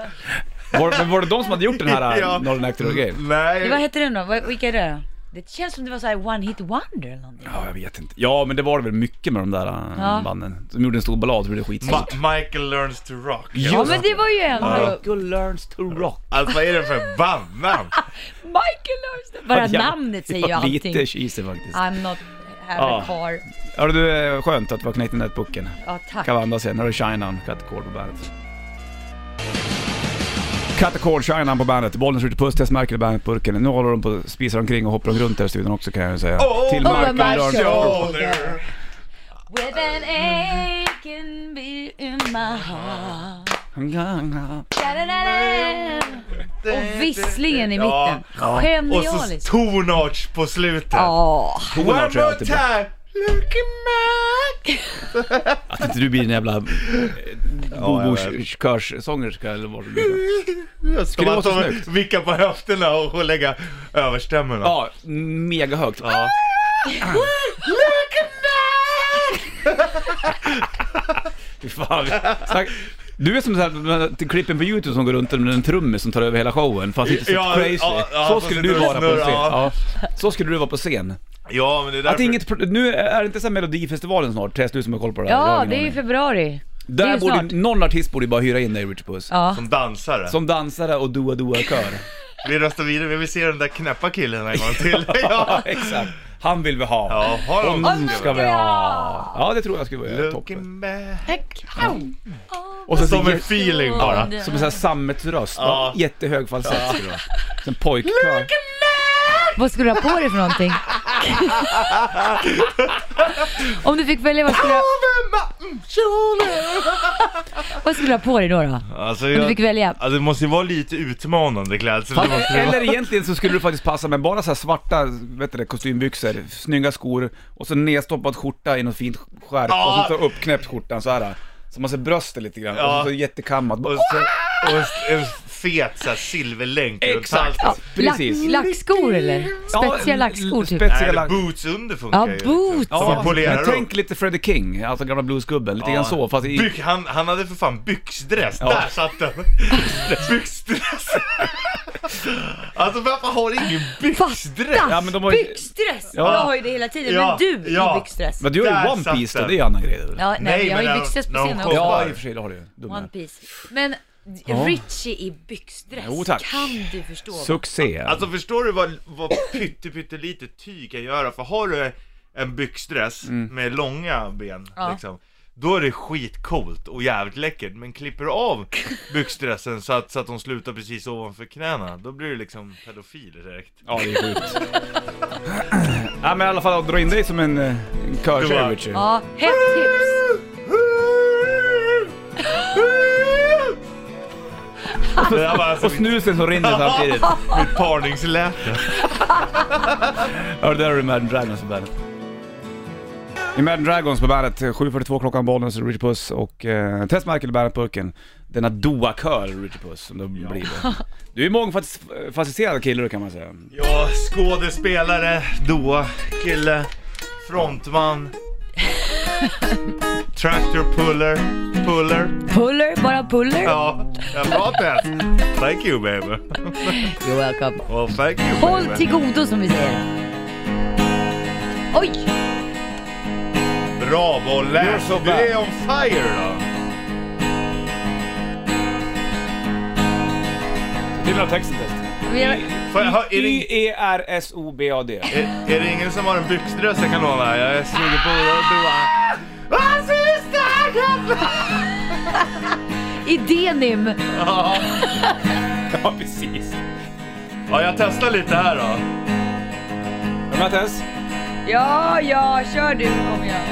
A: Var, men var det de som hade gjort den här
C: Ja.
A: ja. Northern Actor-grejen?
C: Nej.
B: Vad hette den då? Vad- Vilka är det då? Det känns som det var såhär one hit wonder eller någonting
A: Ja, jag vet inte. Ja, men det var det väl mycket med de där äh,
B: Ja.
A: banden. De gjorde en stor ballad och blev skitstort.
C: Ma- Michael learns to rock.
B: Ja men det var ju ändå
A: Michael learns to rock.
C: Alltså vad är det för bandnamn?
B: Michael Larsen! Bara
A: Ja,
B: namnet säger ju
A: ja,
B: allting
A: Lite cheesy faktiskt.
B: I'm not have
A: Ja.
B: a car
A: Hörru du, eh, skönt att vi har knäckt den där pucken.
B: Ja tack
A: Kan vi andas igen. Nu är det Shine On, Cut the Cord på bandet. Cut the Cord, Shine On på bandet. Bollen skjuter puss, Tess Merkel i bandetburken. Nu håller de på att spisa omkring och hoppar runt här i studion också kan jag ju säga.
C: Oh,
A: Till
C: oh,
A: Michael
B: my
A: Learns.
B: God.
C: Shoulder.
B: With an aching beat in my heart Da-da-da-da. Och visslingen i mitten.
C: Ja. Och
B: Genialiskt.
C: så tonarts på slutet.
B: Ja.
C: One
A: Tonarts är
C: more
A: alltid bra.
C: time. Looking back.
A: Att inte du blir en jävla eh,
C: jag vet.
A: bobos-körssångerska eller vad det blir.
C: Jag ska
A: Skulle
C: bara
A: vara så
C: ta
A: snyggt.
C: vicka på höfterna och och lägga överstämmorna.
A: Ja, mega högt. Ja. Fy fan. Tack. Du är som så här, de här klippen på Youtube som går runt med en trummis som tar över hela showen fast inte så
C: Ja,
A: crazy.
C: ja, ja,
A: så
C: fast
A: skulle
C: inte
A: du vara på en
C: snurra,
A: scen. Ja.
C: ja.
A: Så skulle du vara på scen.
C: Ja, men det är
A: Att
C: därför...
A: inget, pro- nu är det inte så här Melodifestivalen snart, Tess du som har koll på det här. Jag har
B: ja,
A: ingen
B: det är ju
A: aning.
B: februari. det är
A: Där
B: ju snart.
A: borde, någon artist borde ju bara hyra in dig Richard Puss.
B: Ja.
C: Som dansare.
A: Som dansare och doa doa kör.
C: Vi röstar vidare, vi vill se den där knäppa killen en gång till. ja.
A: exakt. Han vill vi ha. Mm,
C: Ja, har de
A: Hon ska vi ha. Ja, det tror jag skulle vara toppen.
C: Looking back.
B: Tack. Au. Oh,
A: Och sen så
C: Som en
A: jä-
C: feeling bara.
A: som en sån här sammetsröst.
C: Ja.
A: Ja. Jättehög falsettgrå. Sen pojkkör.
B: Vad skulle du ha på dig för någonting? Om du fick välja, vad skulle du ha... Vad skulle du ha på dig då? då?
C: Alltså,
B: Om du fick
C: jag,
B: välja.
C: alltså, det måste ju vara lite utmanande klädsel. Det måste ju vara-
A: Eller egentligen så skulle du faktiskt passa med bara så här svarta vet du det, kostymbyxor, snygga skor och så nedstoppad skjorta i något fint skärp
C: Ja.
A: och så uppknäppt skjortan så här. Så man ser bröstet lite grann
C: Ja.
A: och så jättekammat.
C: Och, så, och en fet så här, silverlänk runt
A: Exakt!
C: halsen.
A: Precis.
B: Lack, lackskor eller? Spetsiga
A: l-
B: lackskor typ.
A: spets-
C: Nej, eller
A: Silverlänk.
C: boots under funkar
B: Ja,
C: ju.
B: boots.
C: Som man
A: men
C: polerar upp.
A: tänk lite Freddie King, alltså gamla bluesgubben, lite grann så fast i...
C: Byx, han, han hade för fan byxdress,
A: Ja.
C: där satt den! byxdress! alltså varför har ingen byxdress?
A: Ja, men de har ju-
G: Byxdress!
A: Ja.
G: Jag har ju det hela tiden,
C: Ja,
G: men du
C: ja.
G: i byxdress.
A: Men du har
C: Där
A: ju One
C: satt
A: Piece då,
C: den.
A: det är ju annan grej. eller?
G: Ja, nej,
C: Nej,
G: jag har
C: men
G: ju
C: när-
G: byxdress på
C: när hon
G: scenen
C: kom-
G: också.
A: Ja, i och för sig, det har du ju. Dum
G: One
A: är.
G: Piece. Men Richie i byxdress,
A: Jo, tack.
G: kan du förstå?
A: Succé.
C: Alltså förstår du vad, vad pytte, pyttelite tyg kan göra? För har du en byxdress med långa ben
G: Ja.
C: liksom, då är det skitcoolt och jävligt läckert. Men klipper du av byxdressen så att, så att de slutar precis ovanför knäna, då blir du liksom pedofil direkt.
A: Ja, det är sjukt. ja, men i alla fall att dra in dig som en, eh, en
C: Det
A: körtjej,
C: var-
A: Richie.
B: Ja, hett tips.
C: Det där var alltså
A: Och snusen som rinner samtidigt.
C: mitt, mitt parningsläte.
A: Ja, det där har du Imagine Dragons på bandet. Imagine Dragons på bandet, 7.42 klockan, Bollnäs, Richie Puss och eh, Tess Merkel i Bandet-burken. Denna doa-kör, Richie Puss, som det blir. då. Du är mångfacetterad kille du, kan man säga.
C: Ja, skådespelare, då, kille, frontman, tractor puller, puller.
B: Puller, bara puller.
C: Ja, ja, bra Tess. Thank you baby.
B: You're welcome.
C: Well, thank you
B: Håll till
C: baby.
B: godo som vi säger. Oj!
C: Bra Bolle.
A: You're so
C: Du
A: bad.
C: är on fire då.
A: Gillar du texten Tess? E
B: Vi har...
C: Får jag, hör, är, det,
A: I-E-R-S-O-B-A-D.
C: är, är det ingen som har en byxdress jag kan låna? Jag är sugen på att doa. Vad syster?
B: I denim.
C: Ja.
A: Ja, precis.
C: Ja, jag testar lite här då.
A: Är du med Tess?
B: Ja, ja, kör du om jag.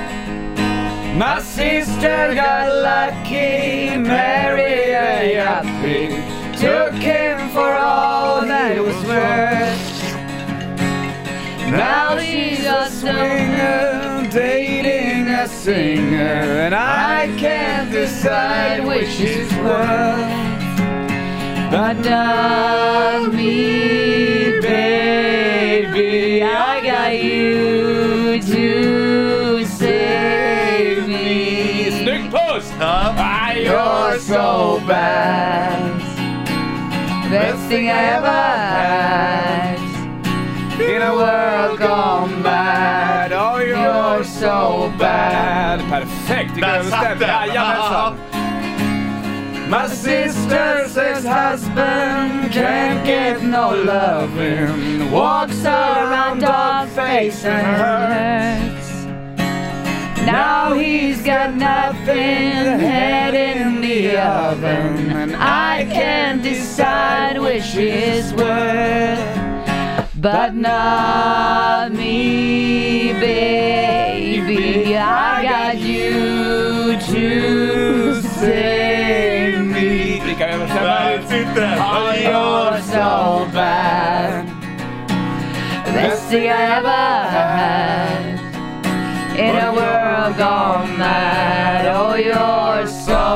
A: My sister got lucky, married a yacht took him for all that it was worth. Now she's a swinger, dating a singer, and I can't decide which she's worth. But love me, baby, I got you to save me. Snyggt puss!
C: Ja.
A: You're so bad. Best thing I ever had. In a world gone bad. Oh, you're so bad. Perfekt! Vilken
C: Där satt den!
A: överstämning. Jajamensan! My sister's ex-husband can't get no loving. Walks around dog face and hurts. Now he's got nothing, head in the oven. And I can't decide which is worth. But not me, baby. I got you to save me.
C: Där sitter den! Vad gör-
A: You're so bad. Best thing I ever had. In a world gone mad. Oh, you're so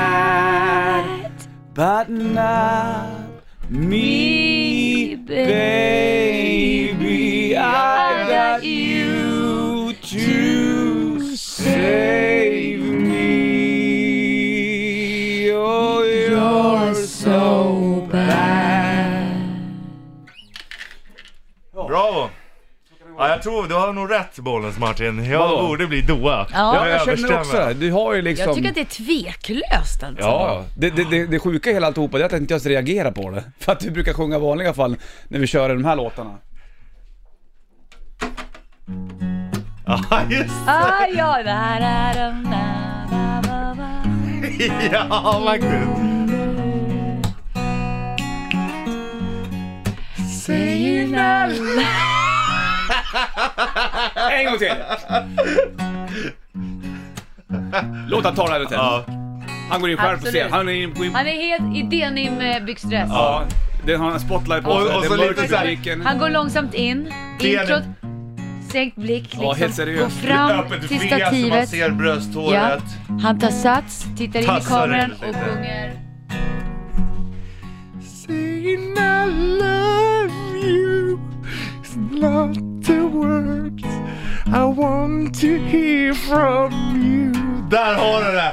A: bad. But not me, baby. I got you to save me. Oh, you're so bad.
C: Bravo! Ja, jag tror du har nog rätt Bollens Martin. Jag
A: Vadå?
C: borde bli doa.
A: Ja, jag känner
C: överstämmer.
A: också. Du har ju liksom...
G: Jag tycker att det är tveklöst alltså.
A: Ja, det, det, det, det sjuka i hela alltihopa det är att jag inte ens reagerar på det. För att vi brukar sjunga i vanliga fall när vi kör de här låtarna.
C: Ja, just
B: Ah, ja, da, da, da, da, da, da, da.
C: det. Ja, faktiskt.
B: Säger alla.
A: En gång till! Låt han ta det här lite.
C: Mm. Ja.
A: Han går in själv på scen.
B: Absolut.
A: Han är in, går in,
B: Han är helt i eh, denim-byxdress.
A: ja. Den har en spotlight på
C: Och-
A: sig.
C: och
A: Det
C: så
A: är mörkt
C: lite
A: i
C: så här-
A: publiken.
B: Han går långsamt in.
C: Denim.
B: Introt. Sänkt blick. Liksom.
A: helt seriöst.
B: Går fram
C: Öppet
B: till
C: V så man
B: stativet.
C: ser
B: Ja.
C: brösthåret.
B: Han tar sats, tittar in i
C: Tassar
B: kameran
C: in
B: och
C: lite.
B: sjunger.
C: Saying I love you is not the words I want to hear from you. Där har du det!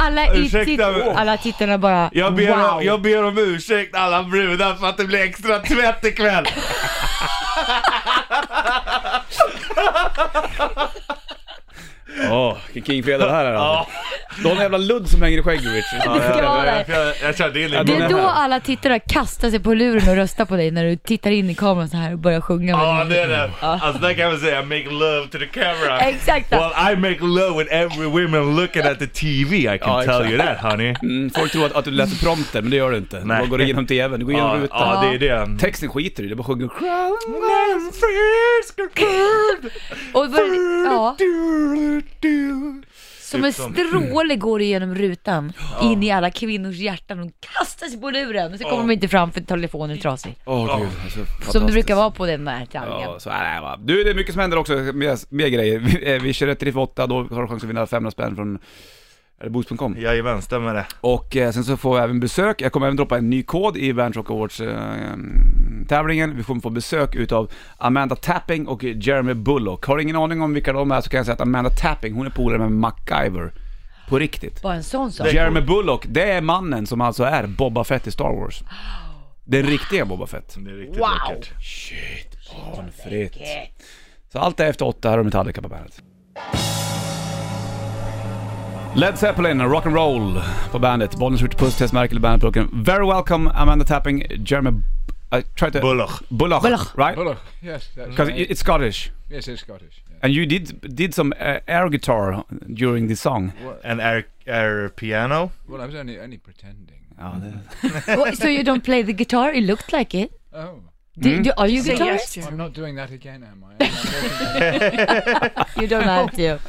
B: Alla, i
C: Ursäkta,
B: titt-
C: men-
B: alla tittarna bara
C: Jag ber, om,
B: wow.
C: jag ber om ursäkt alla brudar för att det blir extra tvätt ikväll.
A: Åh, vilken kingfredag det här är alltså. Du har en jävla ludd som hänger i skägget Richard.
B: ska vara där.
C: Jag, jag körde in
B: Det är
C: lite.
B: då alla tittare kastar sig på luren och röstar på dig när du tittar in i kameran så här och börjar sjunga. med
C: Ja,
B: din-
C: det är det. Alltså där kan man säga make love to the camera.
B: Exakt.
C: Well I make love with every woman looking at the TV I can
A: Ja,
C: tell
A: exakt.
C: you that honey.
A: Mm, folk tror att, att du läser prompter, men det gör du inte.
C: Nej.
A: Du bara går igenom tvn, du går igenom
C: Ja,
A: rutan.
C: ja, det är det.
A: Texten skiter du i, du bara sjunger
C: I'm frisk and cold.
B: Och bör, ja,
C: Du, du.
B: som
C: Typ
B: en stråle går du genom rutan in i alla kvinnors hjärtan och kastar sig på luren. Och så kommer de inte fram för telefonen är trasig.
A: Åh gud, alltså,
B: Som det
A: fantastiskt.
B: brukar vara på den här tävlingen.
A: Ja, så är det va. Du, det är mycket som händer också med, med grejer. Vi, eh, vi kör ett riff 8, då har du chans att vinna 500 spänn från eh, är det Boost.com.
C: Jajamän, stämmer det.
A: Och eh, sen så får vi även besök. Jag kommer även droppa en ny kod i Bandrock Rock Awards eh, tävlingen. Vi kommer få besök utav Amanda Tapping och Jeremy Bullock. Har du ingen aning om vilka de är så kan jag säga att Amanda Tapping, hon är polare med MacGyver. På riktigt.
B: Bara en sån sak.
A: Jeremy Bullock, det är mannen som alltså är Boba Fett i Star Wars. Den riktiga Boba Fett.
C: Det är riktigt
B: Wow.
C: läckert.
A: Shit, barnfritt. Så allt är efter åtta, här har Metallica på bandet. Led Zeppelin, rock'n'roll på bandet. Bollnäs skjuter puss, Tess Merkel i bandetburken. Very welcome Amanda Tapping, Jeremy... I try to...
C: Bulloch.
A: Bulloch.
B: Bulloch.
A: Right?
H: Hello. Yes, that's
A: Because
H: right.
A: it's Scottish.
H: yes, it's Scottish. yeah.
A: And you did, did some uh, air guitar during this song.
C: And air, air piano.
H: Well, I was only only pretending.
B: Oh, so you don't play the guitar? It looked like it.
H: Oh,
B: Do,
C: Mm.
B: do, are you guitarist?
H: I'm not doing that again, am I? I'm not doing that.
B: You don't have to.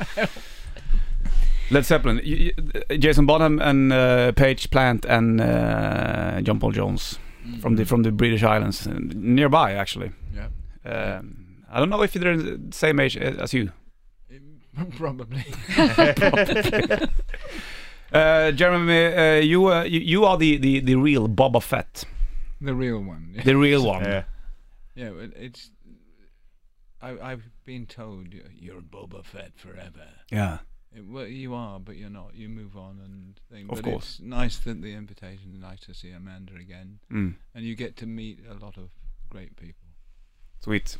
A: Led Zeppelin, you, you, Jason Bonham and uh, Page Plant and uh, John Paul Jones from the from the British Islands, uh, nearby actually.
H: yeah,
A: Um, I don't know if they're the same age uh, as you.
H: It- probably.
A: Uh, Jeremy, uh, you, uh, you you are the, the, the real Boba Fett,
H: The real one. Yeah,
A: the real one.
C: Eh,
H: yeah well, it's. I, I've been told "You- you're Boba Fett forever.
A: Yeah.
H: It- well, you are, but you're not. You move on and things.
A: Of
H: but
A: course.
H: It's nice that the invitation. Nice to see Amanda again,
A: Mm.
H: and you get to meet a lot of great people.
A: Sweet.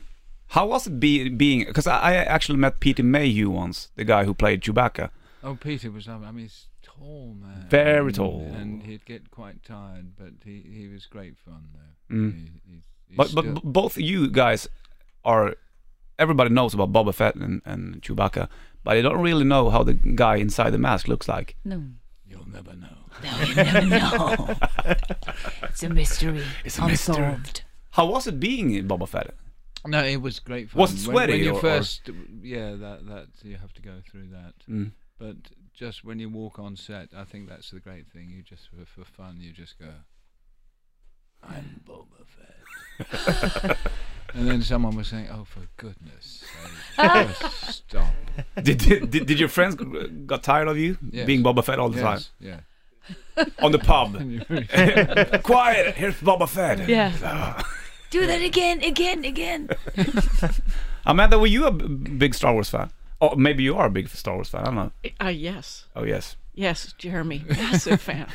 A: How was it be, being? Because I, I actually met Peter Mayhew once, the guy who played Chewbacca.
H: Oh, Peter was lovely. I mean, he's a tall man.
A: Very
H: and-
A: tall.
H: And he'd get quite tired, but he, he was great fun, though.
A: Mm.
H: He, he's, he's
A: But
H: still-
A: but b- both you guys are. Everybody knows about Boba Fett and, and Chewbacca, but I don't really know how the guy inside the mask looks like.
B: No.
H: You'll never know.
B: You never know. It's a mystery. It's
A: a mystery. How was it being Boba Fett?
H: No, it was great fun.
A: Was it
H: When- When,
A: sweaty
H: you
A: or- or-
H: first, yeah, that that you have to go through that.
A: Mm.
H: But just when you walk on set, I think that's the great thing. You just for, for fun, you just go. I'm Boba Fett. and then someone was saying, "Oh, for goodness sake, just stop."
A: did, did, did, did your friends g- got tired of you
H: Yes.
A: being Boba Fett all the time
H: Yes, yeah.
A: on the pub?
H: And you-
A: Quiet, here's Boba Fett.
B: Yeah. Do that again, again, again.
A: Amanda, were you a b- big Star Wars fan? Or maybe you are a big Star Wars fan. I don't know.
E: Ah, yes.
A: Oh yes.
E: Yes, Jeremy. Massive fan.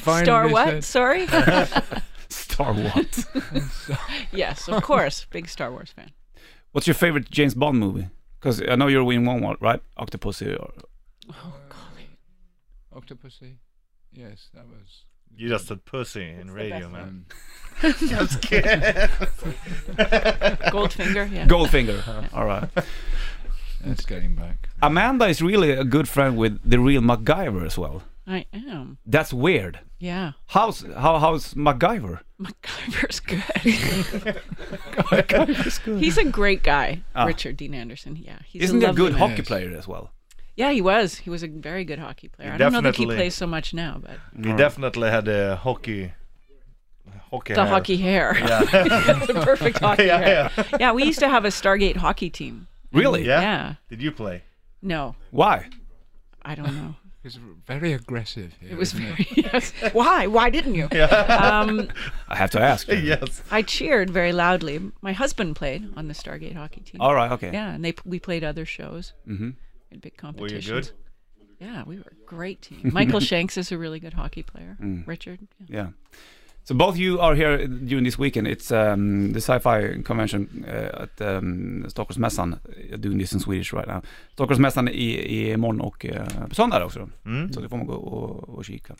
H: Finally
E: Star
H: said-
E: what? Sorry?
A: Star Wars.
E: yes, of course. Big Star Wars fan.
A: What's your favorite James Bond movie? Because I know you're winning one, one, right? Octopussy. Or...
H: Octopussy. Yes, that was
C: You just said pussy in radio man.
H: Um,
E: Goldfinger, yeah.
A: Goldfinger. All right.
H: it's getting back.
A: Amanda is really a good friend with the real MacGyver as well.
E: I am.
A: That's weird.
E: Yeah.
A: How's how, how's MacGyver?
E: MacGyver's good. He's a great guy, Richard Dean Anderson. Yeah. He's
A: Ah. Isn't he a
E: lovely
A: good
E: man.
A: hockey
H: Yes.
A: player as well?
E: Yeah, he was. He was a very good hockey player.
C: He
E: I don't know that he
C: definitely-
E: plays so much now, but
C: You definitely had a hockey... Hockey
E: the
C: hair.
E: hockey hair. the perfect hockey
C: Yeah,
E: hair. Yeah. we used to have a Stargate hockey team.
A: Really?
C: Yeah?
E: Yeah.
C: Did you play?
E: No,
A: Why?
E: I don't know.
H: It's very aggressive. Here,
E: It was
H: isn't
E: very. Yes. Why? Why didn't you? Um,
A: I have to ask. you.
C: Yes.
E: I cheered very loudly. My husband played on the Stargate hockey team.
A: All right. Okay.
E: Yeah, and they we played other shows. Oh, Mm-hmm. In big competitions.
C: good?
E: Yeah, we were a great team. Michael Shanks is a really good hockey player. Richard. yeah.
A: Yeah. So both you are here during this weekend. It's um, the sci-fi convention uh, at um, Stockholmsmässan. You're doing this in Swedish right now. Stockholmsmässan i, i imorgon och eh, på söndag också. Så det får man gå och, och kika.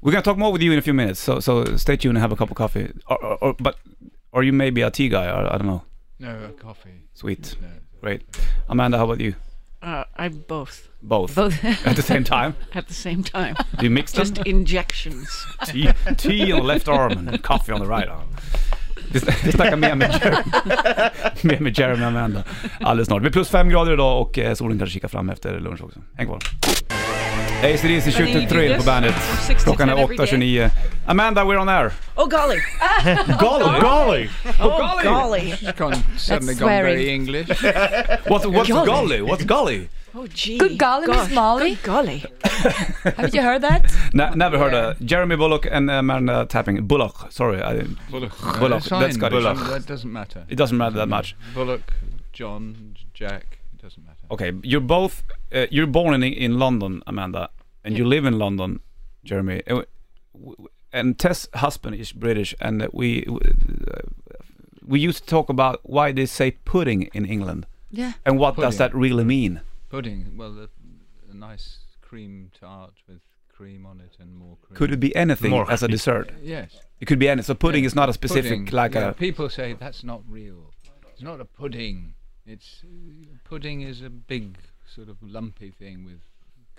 A: We're gonna talk more with you in a few minutes. So, so stay tuned and have a cup of coffee. Or, or, or, but are you maybe a tea guy? Or, I don't know.
H: it? No, a coffee.
A: Sweet.
H: No.
A: Great. Amanda, how about you?
E: Uh, I both
A: Both. At the same time?
E: at the same time.
A: Do you mix them?
E: Just injections.
A: tea, tea on the left arm and coffee on the right arm. Det snackar mer med, Jeremy, mer med Jeremy och Amanda alldeles snart. Det blir plus fem grader idag och eh, solen kanske kikar fram efter lunch också. Häng kvar. ACDC
E: you do
A: Shoot Thrill på
E: this
A: bandet.
E: from six to
A: Klockan är
E: 10 every day.
A: 8.29. Amanda, we're on air.
E: Oh golly!
A: Golly!
C: Golly!
E: Oh golly!
H: She's gone, suddenly gone
B: swearing.
H: very English.
A: What's, what's golly? What's golly?
E: Oh gee!
B: Good golly, Miss
E: Gosh.
B: Molly.
E: Good golly!
B: Haven't you heard that?
A: Ne- never heard of Jeremy Bullock and eh, Amanda Tapping. Bullock, sorry. I didn't.
H: Bullock.
A: Bullock, that's Scottish.
H: Bullock. That doesn't matter.
A: It doesn't matter that much. Oh.
H: Bullock, John, Jack. It doesn't matter.
A: Okay, you're both uh, you're born in in London, Amanda, and you live in London, Jeremy. Uh, w- w- And Tess' husband is British, and uh, we w- uh, we used to talk about why they say pudding in England,
B: Yeah.
A: and what does
H: Pudding.
A: that really mean?
H: Pudding. Well, a, a nice cream tart with cream on it and more cream.
A: Could it be anything
C: More.
A: as a dessert?
H: Yes.
A: It could be anything. So pudding
H: Yeah.
A: is not a specific
H: Pudding,
A: like
H: yeah,
A: a.
H: people say that's not real. It's not a pudding. It's pudding is a big sort of lumpy thing with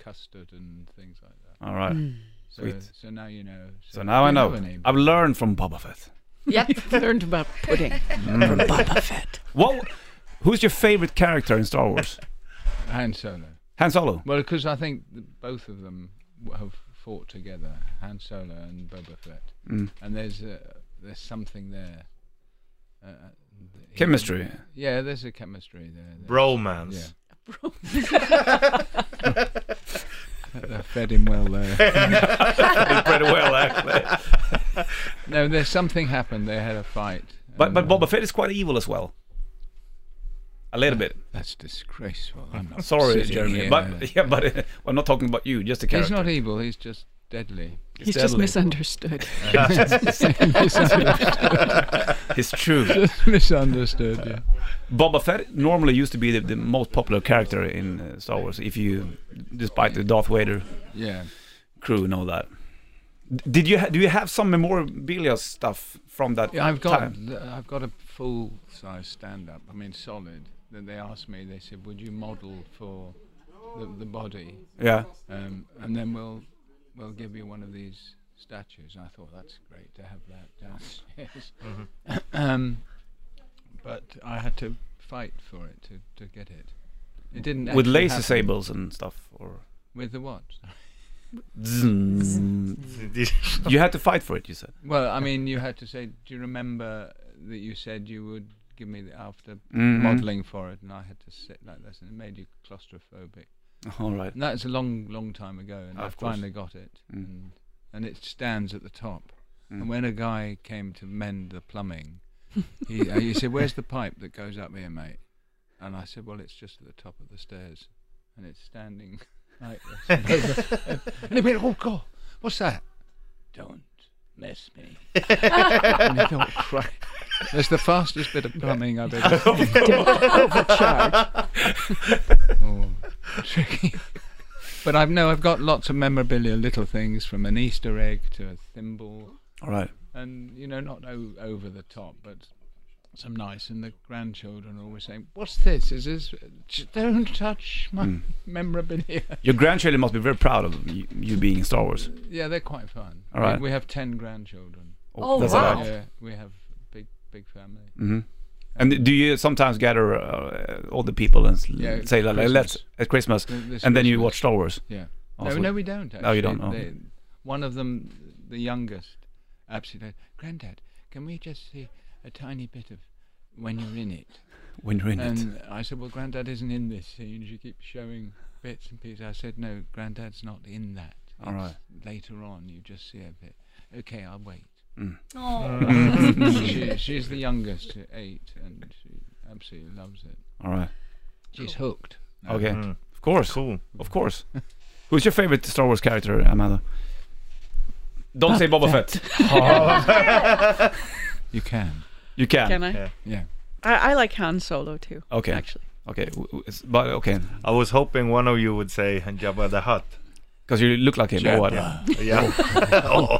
H: custard and things like that.
A: All right.
H: So,
A: Sweet.
H: so now you know.
A: So now I
H: Mm. you
A: know.
H: a name.
A: I've learned from Boba Fett.
E: Learned about pudding from Boba Fett.
A: What? Who's your favorite character in Star Wars?
H: Han Solo.
A: Han Solo.
H: Well, because I think th- both of them w- have fought together, Han Solo and Boba Fett,
A: Mm.
H: and there's a, there's something there. Uh, uh, he-
A: Chemistry.
H: Yeah, there's a chemistry there. there.
C: Bromance.
H: Yeah. That fed him well there.
A: Pretty well, actually.
H: no, there's something happened. They had a fight.
A: But
H: and,
A: but
H: uh,
A: Boba Fett is quite evil as well. A little bit.
H: That's disgraceful. I'm not
A: Sorry,
H: sitting
A: Jeremy.
H: here.
A: But yeah, but uh, I'm not talking about you. Just the
H: he's
A: character.
H: not evil. He's just deadly.
E: He's just misunderstood.
A: It's true.
H: Misunderstood. Yeah.
A: Boba Fett normally used to be the, the most popular character in uh, Star Wars. If you, despite the Darth Vader
H: Yeah.
A: crew and all that. D- Did you ha- do you have some memorabilia stuff from that?
H: Yeah, I've got
A: time?
H: th- I've got a full size stand up. I mean, solid. Then they asked me. They said, "Would you model for the, the body?"
A: Yeah.
H: Um, and then we'll we'll give you one of these statues. And I thought that's great to have that downstairs. um, but I had to fight for it to, to get it. It didn't
A: With
H: actually
A: laser
H: happen.
A: sables and stuff, or
H: With the what?
A: Zzz.
C: Did-
A: you had to fight for it. You said.
H: Well, I mean, you had to say, "Do you remember that you said you would give me the after
A: Mhm.
H: modelling for it?" And I had to sit like this, and it made you claustrophobic.
A: All right. Ah,
H: And that's a long, long time ago,
A: Of
H: and
A: course.
H: I finally got it,
A: Mm.
H: and, and it stands at the top.
A: Mm.
H: And when a guy came to mend the plumbing, he, uh, he said, "Where's the pipe that goes up here, mate?" And I said, "Well, it's just at the top of the stairs, and it's standing like this." and he went, "Oh God, what's that?" Don't mess me. and he thought, "Christ, that's the fastest bit of plumbing I've ever overcharged." oh, tricky. But I've no, I've got lots of memorabilia, little things from an Easter egg to a thimble,
A: Alright.
H: and you know, not o- over the top, but some nice. And the grandchildren are always saying, "What's this? Is this? J- Don't touch my
A: Hmm.
H: memorabilia."
A: Your grandchildren must be very proud of you, you being in Star Wars.
H: yeah, they're quite fun.
A: All right.
H: We, we have ten grandchildren.
G: Oh,
A: that's
G: wow.
A: a lot. Mm-hmm.
H: Yeah, we have a big, big family.
A: And do you sometimes gather uh, all the people and s-
H: Yeah,
A: say like,
H: Christmas.
A: let's at Christmas,
H: Th- this
A: and then you
H: Christmas.
A: watch Star Wars?
H: Yeah.
A: Oh,
H: no,
A: so-
H: no, we don't. Actually.
A: Oh, you don't, oh.
H: They- one of them, the youngest, absolutely. Granddad, can we just see a tiny bit of when you're in it?
A: when you're in it.
H: And I said, well, Granddad isn't in this scene. You keep showing bits and pieces. I said, no, Granddad's not in that.
A: All right.
H: It's Later on, you just see a bit. Okay, I'll wait.
A: Mm.
G: Åh.
H: she, she's the youngest, eight, and she absolutely loves it.
A: All right.
H: She's hooked.
A: Okay.
H: Mm.
A: Of course.
C: Cool.
A: Of course. Who's your favorite Star Wars character, Amanda? Don't say Boba Fett.
H: You can.
A: You can.
E: Can I?
C: Yeah.
H: Yeah.
E: I, I like Han Solo too.
A: Okay.
E: Actually.
A: Okay. w- w- it's- But okay,
C: I was hoping one of you would say Jabba the Hutt.
A: because you look like him. or what?
C: Yeah. Oh.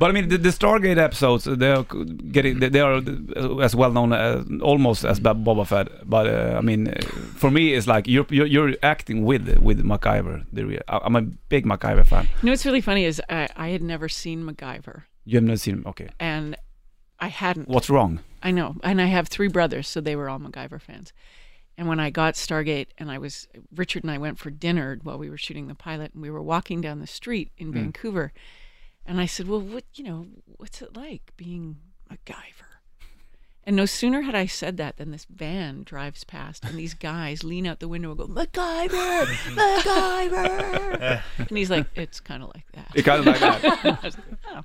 A: But I mean, the, the Stargate episodes, uh, they are c- getting, they, they are uh, as well known, as, almost as Bob- Boba Fett. But uh, I mean, uh, for me, it's like you're you're, you're acting with with MacGyver. The real, I- I'm a big MacGyver fan.
E: You know what's really funny is I, I had never seen MacGyver
A: You haven't seen him, okay?
E: and I hadn't.
A: What's wrong?
E: I know. And I have three brothers, so they were all MacGyver fans. And when I got Stargate and I was, Richard and I went for dinner while we were shooting the pilot and we were walking down the street in Vancouver. And I said, Well, what, you know, what's it like being MacGyver? And no sooner had I said that than this van drives past and these guys lean out the window and go, MacGyver, MacGyver. and he's like, It's kind of like that.
A: It kind of like that.
E: I was like, "Oh."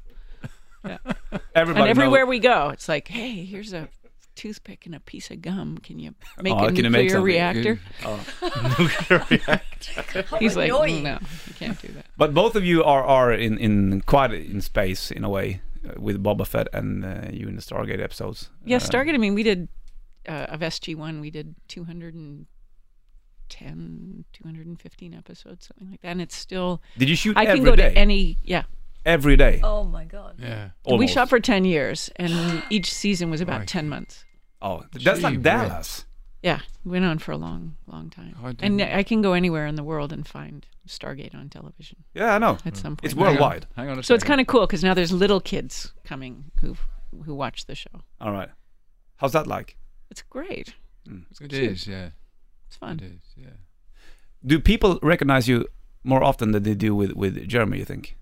A: Everybody
E: And everywhere
A: knows.
E: we go, it's like, hey, here's a toothpick and a piece of gum. Can you make
A: Oh,
E: a
A: can you
E: nuclear
A: make something? Oh.
E: reactor? He's like,
G: Annoying.
E: no, you can't do that.
A: But both of you are are in in quite in space in a way uh, with Boba Fett and uh, you in the Stargate episodes. Um,
E: Yeah, Stargate. I mean, we did uh, of SG one. We did 210, 215 episodes, something like that. And it's still,
A: Did you shoot
E: I can
A: every
E: go
A: day?
E: to any. Yeah,
A: every day.
G: Oh my god.
H: Yeah.
E: we
A: Almost.
E: shot for 10 years, and each season was about 10 months.
A: Oh, that's
H: Gee
A: like
H: whiz.
A: Dallas.
E: Yeah, went on for a long, long time.
A: Oh,
H: I
E: and
H: didn't-
E: I can go anywhere in the world and find Stargate on television
A: Yeah, I know.
E: at some point.
A: It's worldwide.
H: Hang on a
E: So it's
H: second.
E: kind of cool because now there's little kids coming who who watch the show.
A: All right. How's that like?
E: It's great.
H: It is, yeah.
E: It's
H: It
E: fun.
H: is, yeah.
A: Do people recognize you more often than they do with, with Jeremy, you think?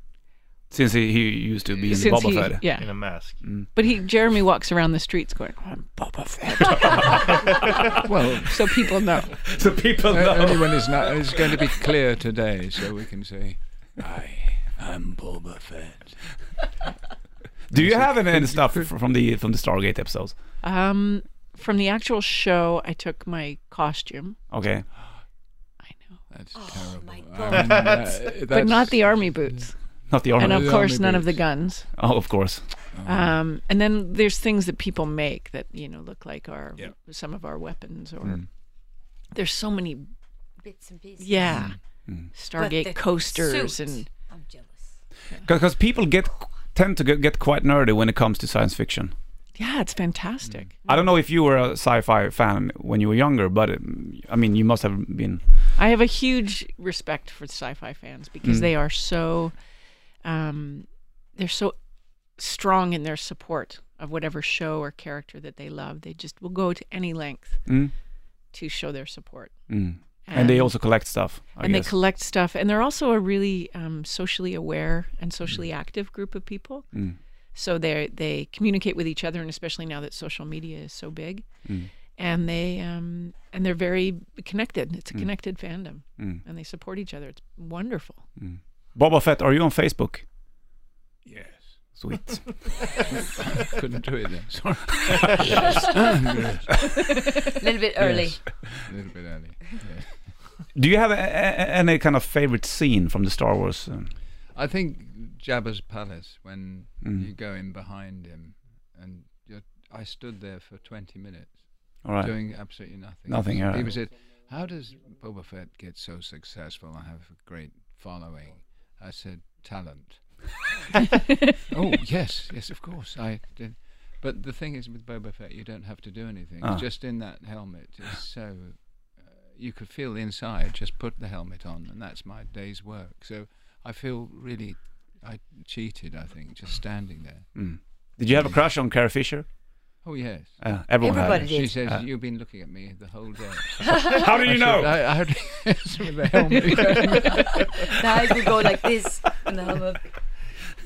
A: Since he, he used to be in the Boba
E: he,
A: Fett.
E: yeah,
C: In a mask.
E: but he Jeremy walks around the streets going, "I'm Boba Fett,"
A: Uh,
H: Well,
E: so people know.
A: So people
H: Uh,
A: know.
H: only when it's not. It's going to be clear today, so we can say, "I am Boba Fett."
A: Do you have any, any stuff fr- from the from the Stargate episodes?
E: Um, from the actual show, I took my costume.
A: Okay.
E: I know,
H: That's terrible.
G: my
H: I mean, that-
E: but not
H: that's-
E: the army boots,
A: Not the
E: and
A: armor.
E: of
H: The
E: course,
H: army
E: none of the
H: boots. Uh-huh.
E: guns.
A: Oh, of course.
E: Um, and then there's things that people make that you know look like our some of our weapons, or
H: Mm.
E: there's so many
G: Bits and pieces.
E: Yeah.
H: Mm.
G: But the
E: Stargate coasters
G: suit.
E: and
G: I'm jealous.
A: Because people get tend to get, get quite nerdy when it comes to science fiction.
E: yeah, it's fantastic.
A: I don't know if you were a sci-fi fan when you were younger, but um, I mean, you must have been.
E: I have a huge respect for sci-fi fans because
A: Mm.
E: they are so um they're so strong in their support of whatever show or character that they love. They just will go to any length
A: Mm.
E: to show their support.
A: Mm. And they also collect stuff. I
E: Um, and
A: guess.
E: they collect stuff and they're also a really um, socially aware and socially active group of people
A: Mm.
E: so they they communicate with each other and especially now that social media is so big
A: Mm.
E: and they um, and they're very connected it's a connected fandom
A: Mm.
E: and they support each other it's wonderful
A: Boba Fett, are you on Facebook?
H: Yes.
A: Sweet.
H: Couldn't do it then. Sorry.
G: A little bit early.
H: Yes. A little bit early. yeah.
A: Do you have a, a, any kind of favorite scene from the Star Wars? Um,
H: I think Jabba's palace when
A: Hmm. mm,
H: you go in behind him, and you're, I stood there for twenty minutes.
A: All right.
H: doing absolutely nothing.
A: Nothing, yeah.
H: People said, "How does Boba Fett get so successful and have a great following?" I said, "Talent." oh yes, yes, of course. I did. But the thing is, with Boba Fett, you don't have to do anything.
A: Ah.
H: Just in that helmet, it's so uh, you could feel the inside. Just put the helmet on, and that's my day's work. So I feel really, I cheated. I think just standing there.
A: Mm. Did you have a crush on Carrie Fisher?
H: Oh yes.
A: Uh, everyone had
G: Everybody
A: it.
H: She
G: did.
H: says you've been looking at me the whole day.
A: How do you know?
H: I, I had it's with the helmet,
G: The eyes would go like this. And the hum of,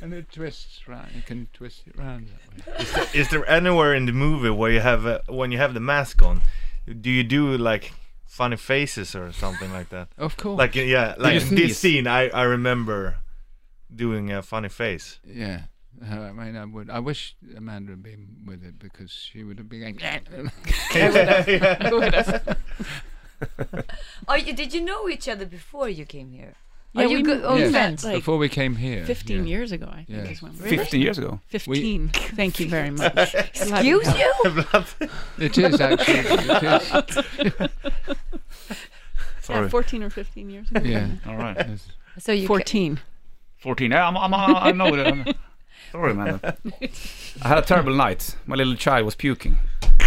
H: and it twists round. You can twist it round that way.
C: Is there anywhere in the movie where you have uh, when you have the mask on, do you do like funny faces or something like that?
H: Of course.
C: Like yeah, like
A: you
C: this
A: sneeze?
C: scene, I I remember doing a funny face.
H: yeah. Uh, I mean, I would. I wish Amanda had been with it because she would have been. Going,
G: oh, you, did you know each other before you came here?
E: Yeah,
G: Are you
E: we
G: good
E: met
G: old
H: Yes.
G: friends?
E: Oh, like
H: Before we came here.
E: 15
H: yeah.
E: years ago, I think
H: Yeah.
E: is when we
A: 15 years ago.
E: 15. Thank you very much.
G: Excuse you?
H: It is actually. It is.
E: Yeah,
A: Sorry.
E: 14 or 15 years ago.
H: Yeah.
A: All right.
H: Yes.
B: So you ca-
E: 14.
A: 14. Yeah, I'm, I'm, I'm, I know that. I'm- Sorry, man. I had a terrible night. My little child was puking.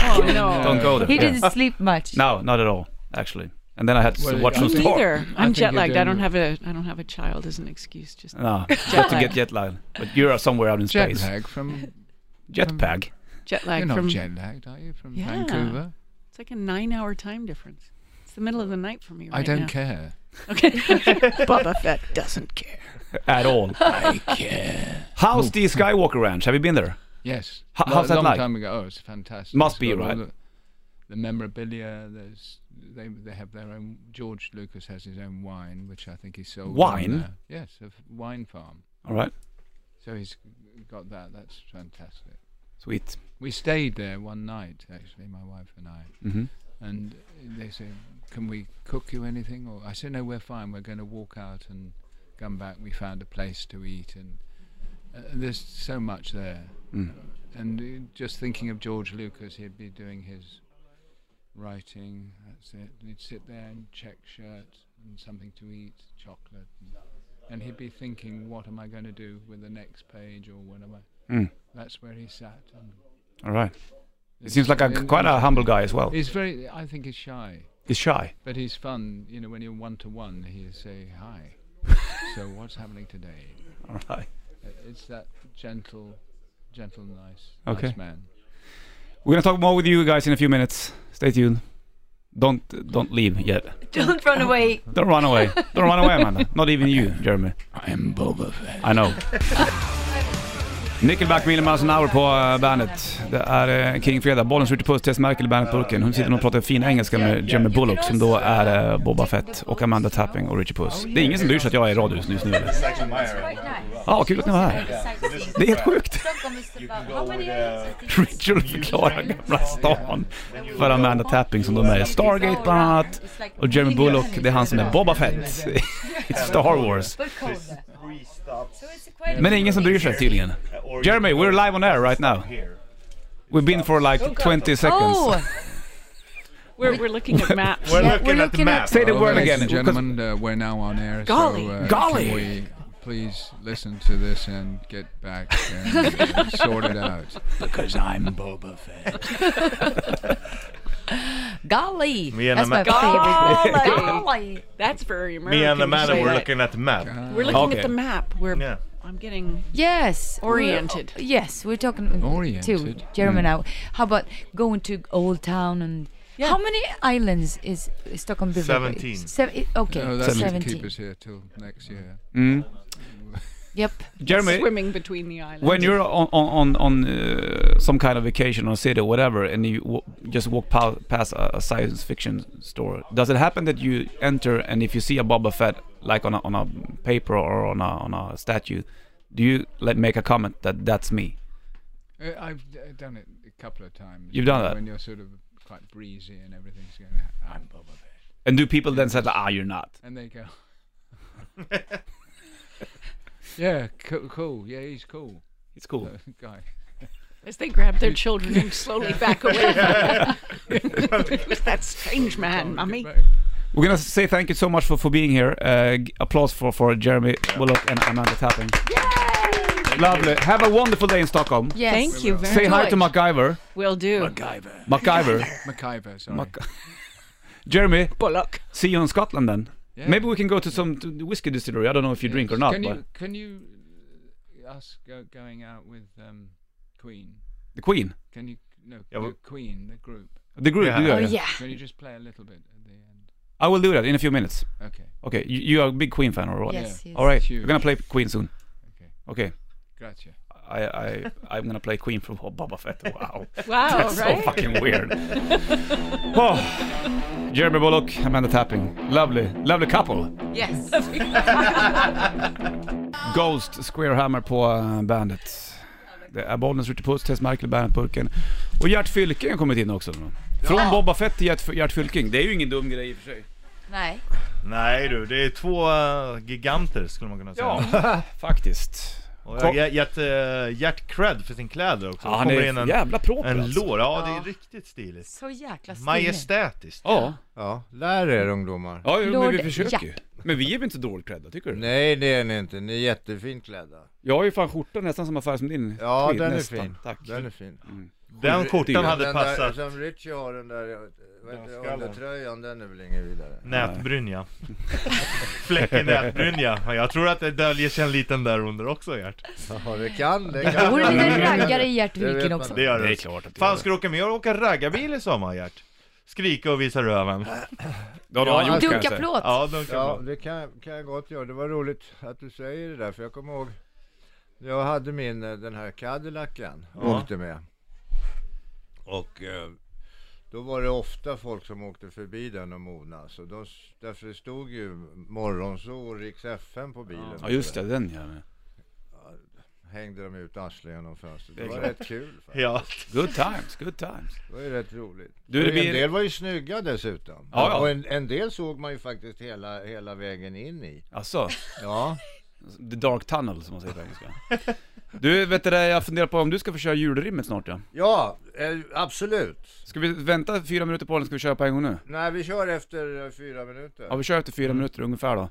E: Oh, no.
A: Don't go there.
B: he
A: Yeah.
B: didn't sleep much.
A: No, not at all, actually. And then I had to
H: Well,
A: watch
H: I'm
A: some
E: Me
A: sport.
E: either.
H: I
E: I'm
H: think you're
E: jet lagged. I
H: doing-
E: don't have a I don't have a child as an excuse. Just
A: No, just to
E: lag.
A: get jet lag. But you're somewhere out in
H: Jet
A: space.
H: lag from.
A: Jetpack.
E: jet lag
H: You're not
E: from
H: jet lagged, are you? From
E: Yeah.
H: Vancouver?
E: It's like a nine-hour time difference. It's the middle of the night for me. Right
H: I don't
E: now.
H: care.
E: Okay. Boba Fett doesn't care.
A: At all.
H: I care.
A: How's the Skywalker Ranch? Have you been there?
H: Yes.
A: Ho-
H: Lo-
A: how's that
H: long
A: like?
H: time ago. Oh, it's fantastic.
A: Must
H: It's
A: be,
H: got all
A: right?
H: The, the memorabilia. There's they they have their own. George Lucas has his own wine, which I think he sold. on
A: Wine?
H: there. Yes, a f- wine farm.
A: All right.
H: So he's got that. That's fantastic.
A: Sweet.
H: We stayed there one night, actually, my wife and I,
A: hmm
H: and they said, "Can we cook you anything?" Or I said, "No, we're fine. We're going to walk out and come back." We found a place to eat, and uh, there's so much there.
A: Mm.
H: And uh, just thinking of George Lucas, he'd be doing his writing. That's it. And he'd sit there and check shirts and something to eat, chocolate, and, and he'd be thinking, "What am I going to do with the next page?" Or "What am I?"
A: Mm.
H: That's where he sat. And
A: All right. He seems like a
H: and-
A: quite a humble guy as well.
H: He's very. I think he's shy,
A: He's shy.
H: but he's fun. You know, when you're one to one, he'll say hi. so what's happening today?
A: All right.
H: Uh, It's that gentle, gentle, nice,
A: Okay.
H: nice man.
A: We're gonna talk more with you guys in a few minutes. Stay tuned. Don't don't leave yet.
G: Don't run away.
A: Don't run away. Don't run away, Amanda. Not even you, Jeremy.
H: I am Boba Fett.
A: I know. Nickelback Million Miles an Hour på eh, bandet. Det är eh, King Fredag. Bollen skjuter puss, Tess Merkel i bandetburken. Hon sitter och pratar fin engelska med Jeremy Bullock som då är eh, Boba Fett och Amanda Tapping och Richie Puss. Det är ingen som bryr sig att jag är i radio just nu. eller? Ja, kul att ni var här. Det är helt sjukt. Richard förklarar Gamla Stan för Amanda Tapping som de är i Stargate bland annat. Och Jeremy Bullock, det är han som är Boba Fett i Star Wars. Men det är ingen som bryr sig tydligen. Jeremy, we're live on air right now. We've been for like 20 seconds.
B: Oh,
E: We're, we're looking at maps.
C: We're
B: Yeah,
C: looking
B: we're
C: at the
B: looking
C: map.
B: at-
A: Say the word
H: ladies
A: again.
H: and gentlemen, uh, we're now on air.
E: Golly.
H: so, uh,
A: Golly.
H: Can we please listen to this and get back and uh, sort it out? Because I'm Boba Fett.
B: golly.
C: Me and
B: That's my
C: Amanda-
B: favorite.
G: Golly.
E: That's very American.
C: Me and
E: to
C: Amanda
E: say
C: were
E: that.
C: looking at the map.
E: We're looking
A: Okay.
E: at the map. We're.
C: Yeah.
E: I'm getting.
B: Yes. we're-
E: Oriented.
B: yes, we're talking
H: Oriented. Mm.
B: to Jeremy now. How about going to Old Town and how many islands is Stockholm? River?
C: Seventeen.
B: Seven, okay,
H: No, Oh, that's going to
B: seventeen.
H: keep us here till next year.
A: Mm.
B: Yep.
A: Jeremy,
E: swimming between the islands.
A: when you're on on on, on uh, some kind of vacation or city or whatever, and you w- just walk pa- past a, a science fiction store, does it happen that you enter and if you see a Boba Fett like on a, on a paper or on a on a statue, do you like make a comment that that's me?
H: Uh, I've d- done it a couple of times.
A: You've done that?
H: when you're sort of quite breezy and everything's going. I'm Boba Fett,
A: And do people then say, ah, you're not?
H: and they go. yeah, cool, cool. Yeah, he's cool.
A: It's cool.
H: guy.
E: as they grabbed their children and slowly back away. it was that strange man, mummy.
A: We're gonna say thank you so much for, for being here. Uh, g- applause for, for Jeremy Bullock and Amanda Tapping. Lovely. Have a wonderful day in Stockholm.
I: Yes.
E: Thank you very
A: Say hi to
E: much.
A: MacGyver.
E: Will do.
A: MacGyver.
H: MacIver, sorry.
A: Mac- Jeremy,
E: Bullock.
A: see you in Scotland then.
H: Yeah.
A: Maybe we can go to some to the whiskey distillery. I don't know if you drink or not,
H: Can
A: but
H: you, can you, uh, us go, going out with um, Queen?
A: the Queen,
H: Can you, no,
J: Yeah,
H: the
J: well-
H: Queen, the group.
A: the group.
J: Yeah.
A: you
I: Oh
A: are-
I: yeah.
H: Can you just play a little bit at the end?
A: I will do that in a few minutes.
H: Okay,
A: Okay, you, you are a big Queen fan or what?
I: Yes. yes.
A: All right,
H: Huge.
A: we're gonna play Queen soon.
H: Okay.
A: Okay.
H: gotcha.
A: I I I'm gonna play Queen from Boba Fett. Wow.
E: Wow,
A: That's
E: right?
A: so fucking weird. oh, Jeremy Bullock, Amanda Tapping. Lovely, lovely couple.
B: Yes.
A: Ghost, Square Hammer på eh, bandet. Det är Bollnäs Ritchie Puss, Tess Merkel i bandetburken. Och Gert Fylking har kommit in också. Från Boba Fett till Gert, Gert Fylking. Det är ju ingen dum grej i och för sig.
B: Nej.
J: Nej du, det är två eh, giganter skulle man kunna säga.
A: Ja, faktiskt.
J: Och jag har gett eh, Gert cred för sin kläder också.
A: Ja,
J: Det
A: han
J: kommer
A: är
J: in en,
A: jävla proper
J: en
A: alltså.
J: lår, ja det
B: Ja.
J: är riktigt stiligt.
B: Så jäkla stilig.
J: Majestätiskt.
A: Ja,
C: Ja, lär er ungdomar.
A: ja jo, men vi
I: Lord
A: försöker
I: Jack.
A: ju. Men vi är väl inte så dåligt klädda, tycker du?
C: Nej det är ni inte, ni är jättefint klädda.
A: Jag har ju fan skjorta nästan samma färg som din.
C: Ja
A: tweed,
C: den är
A: nästan.
C: fin.
A: Tack.
C: Den är fin.
J: Den skjortan hade
C: den
J: passat
C: Där, som Richie har den där, jag vet- vad heter det,
J: skallen.
C: undertröjan, den är väl ingen vidare.
J: nätbrynja. Fläcken nätbrynja. Ja, Jag tror att det döljer sig en liten där under också Gert.
C: Ja det kan, det
I: Det
C: kan.
I: vore en liten raggare i
C: Det vet
I: Hjärtviken
C: man.
I: också.
J: Det gör
A: Det är
J: det.
A: klart att det gör
J: Fan
A: det.
J: ska du åka med och åka raggarbil i sommar Gert? Skrika och visa röven.
A: Det har han
C: Ja,
A: gjort kan jag
I: Dunka
A: säga.
I: plåt.
J: Ja, de kan
C: Ja det kan, kan jag gott göra, det var roligt att du säger det där för jag kommer ihåg jag hade min, eh, den här Cadillacen,
J: Ja.
C: åkte med. Och eh, då var det ofta folk som åkte förbi den och mona. Så då, därför det stod ju morgonsol, Rix FM på bilen.
A: Ja just det, den ja.
C: hängde de ut arslet genom fönstret.
A: Det
C: Det
A: är
C: var
A: klart.
C: rätt kul faktiskt.
J: Ja,
A: Good times, good times.
C: Det var ju rätt roligt.
A: Du, det
C: Och
A: blir-
C: En del var ju snygga dessutom.
A: Ja, ja.
C: Och en, en del såg man ju faktiskt hela, hela vägen in i.
A: Alltså,
C: Ja.
A: the dark tunnel som man säger på engelska. Du, vet du det, jag funderar på om du ska få köra julrimmet snart ja.
C: Ja, eh, absolut.
A: Ska vi vänta fyra minuter på den, ska vi köra på en gång nu?
C: Nej, vi kör efter eh, fyra
A: Ja,
C: minuter.
A: vi kör efter
B: Mm.
A: fyra minuter ungefär då.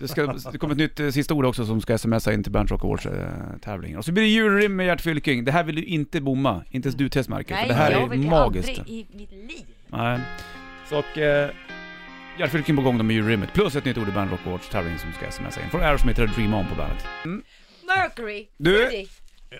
A: Det, ska, det kommer ett nytt eh, sista ord också som ska smsa in till Bernt Rock Awards eh, tävling. Och så blir det julrim med Gert Fylking. Det här vill du inte bomma, inte ens du Tess Merkel, för
B: Mm. Nej,
A: det här
B: jag
A: är
B: vill
A: magiskt.
B: aldrig i mitt liv.
A: Nej. Så och... Eh, Gert Fylking på gång då med julrimmet, plus ett nytt ord i Bernt Rock Awards tävling som ska smsa in. Från Aerosmith heter Dream On på bandet.
B: Mercury.
A: Du,
B: Pretty.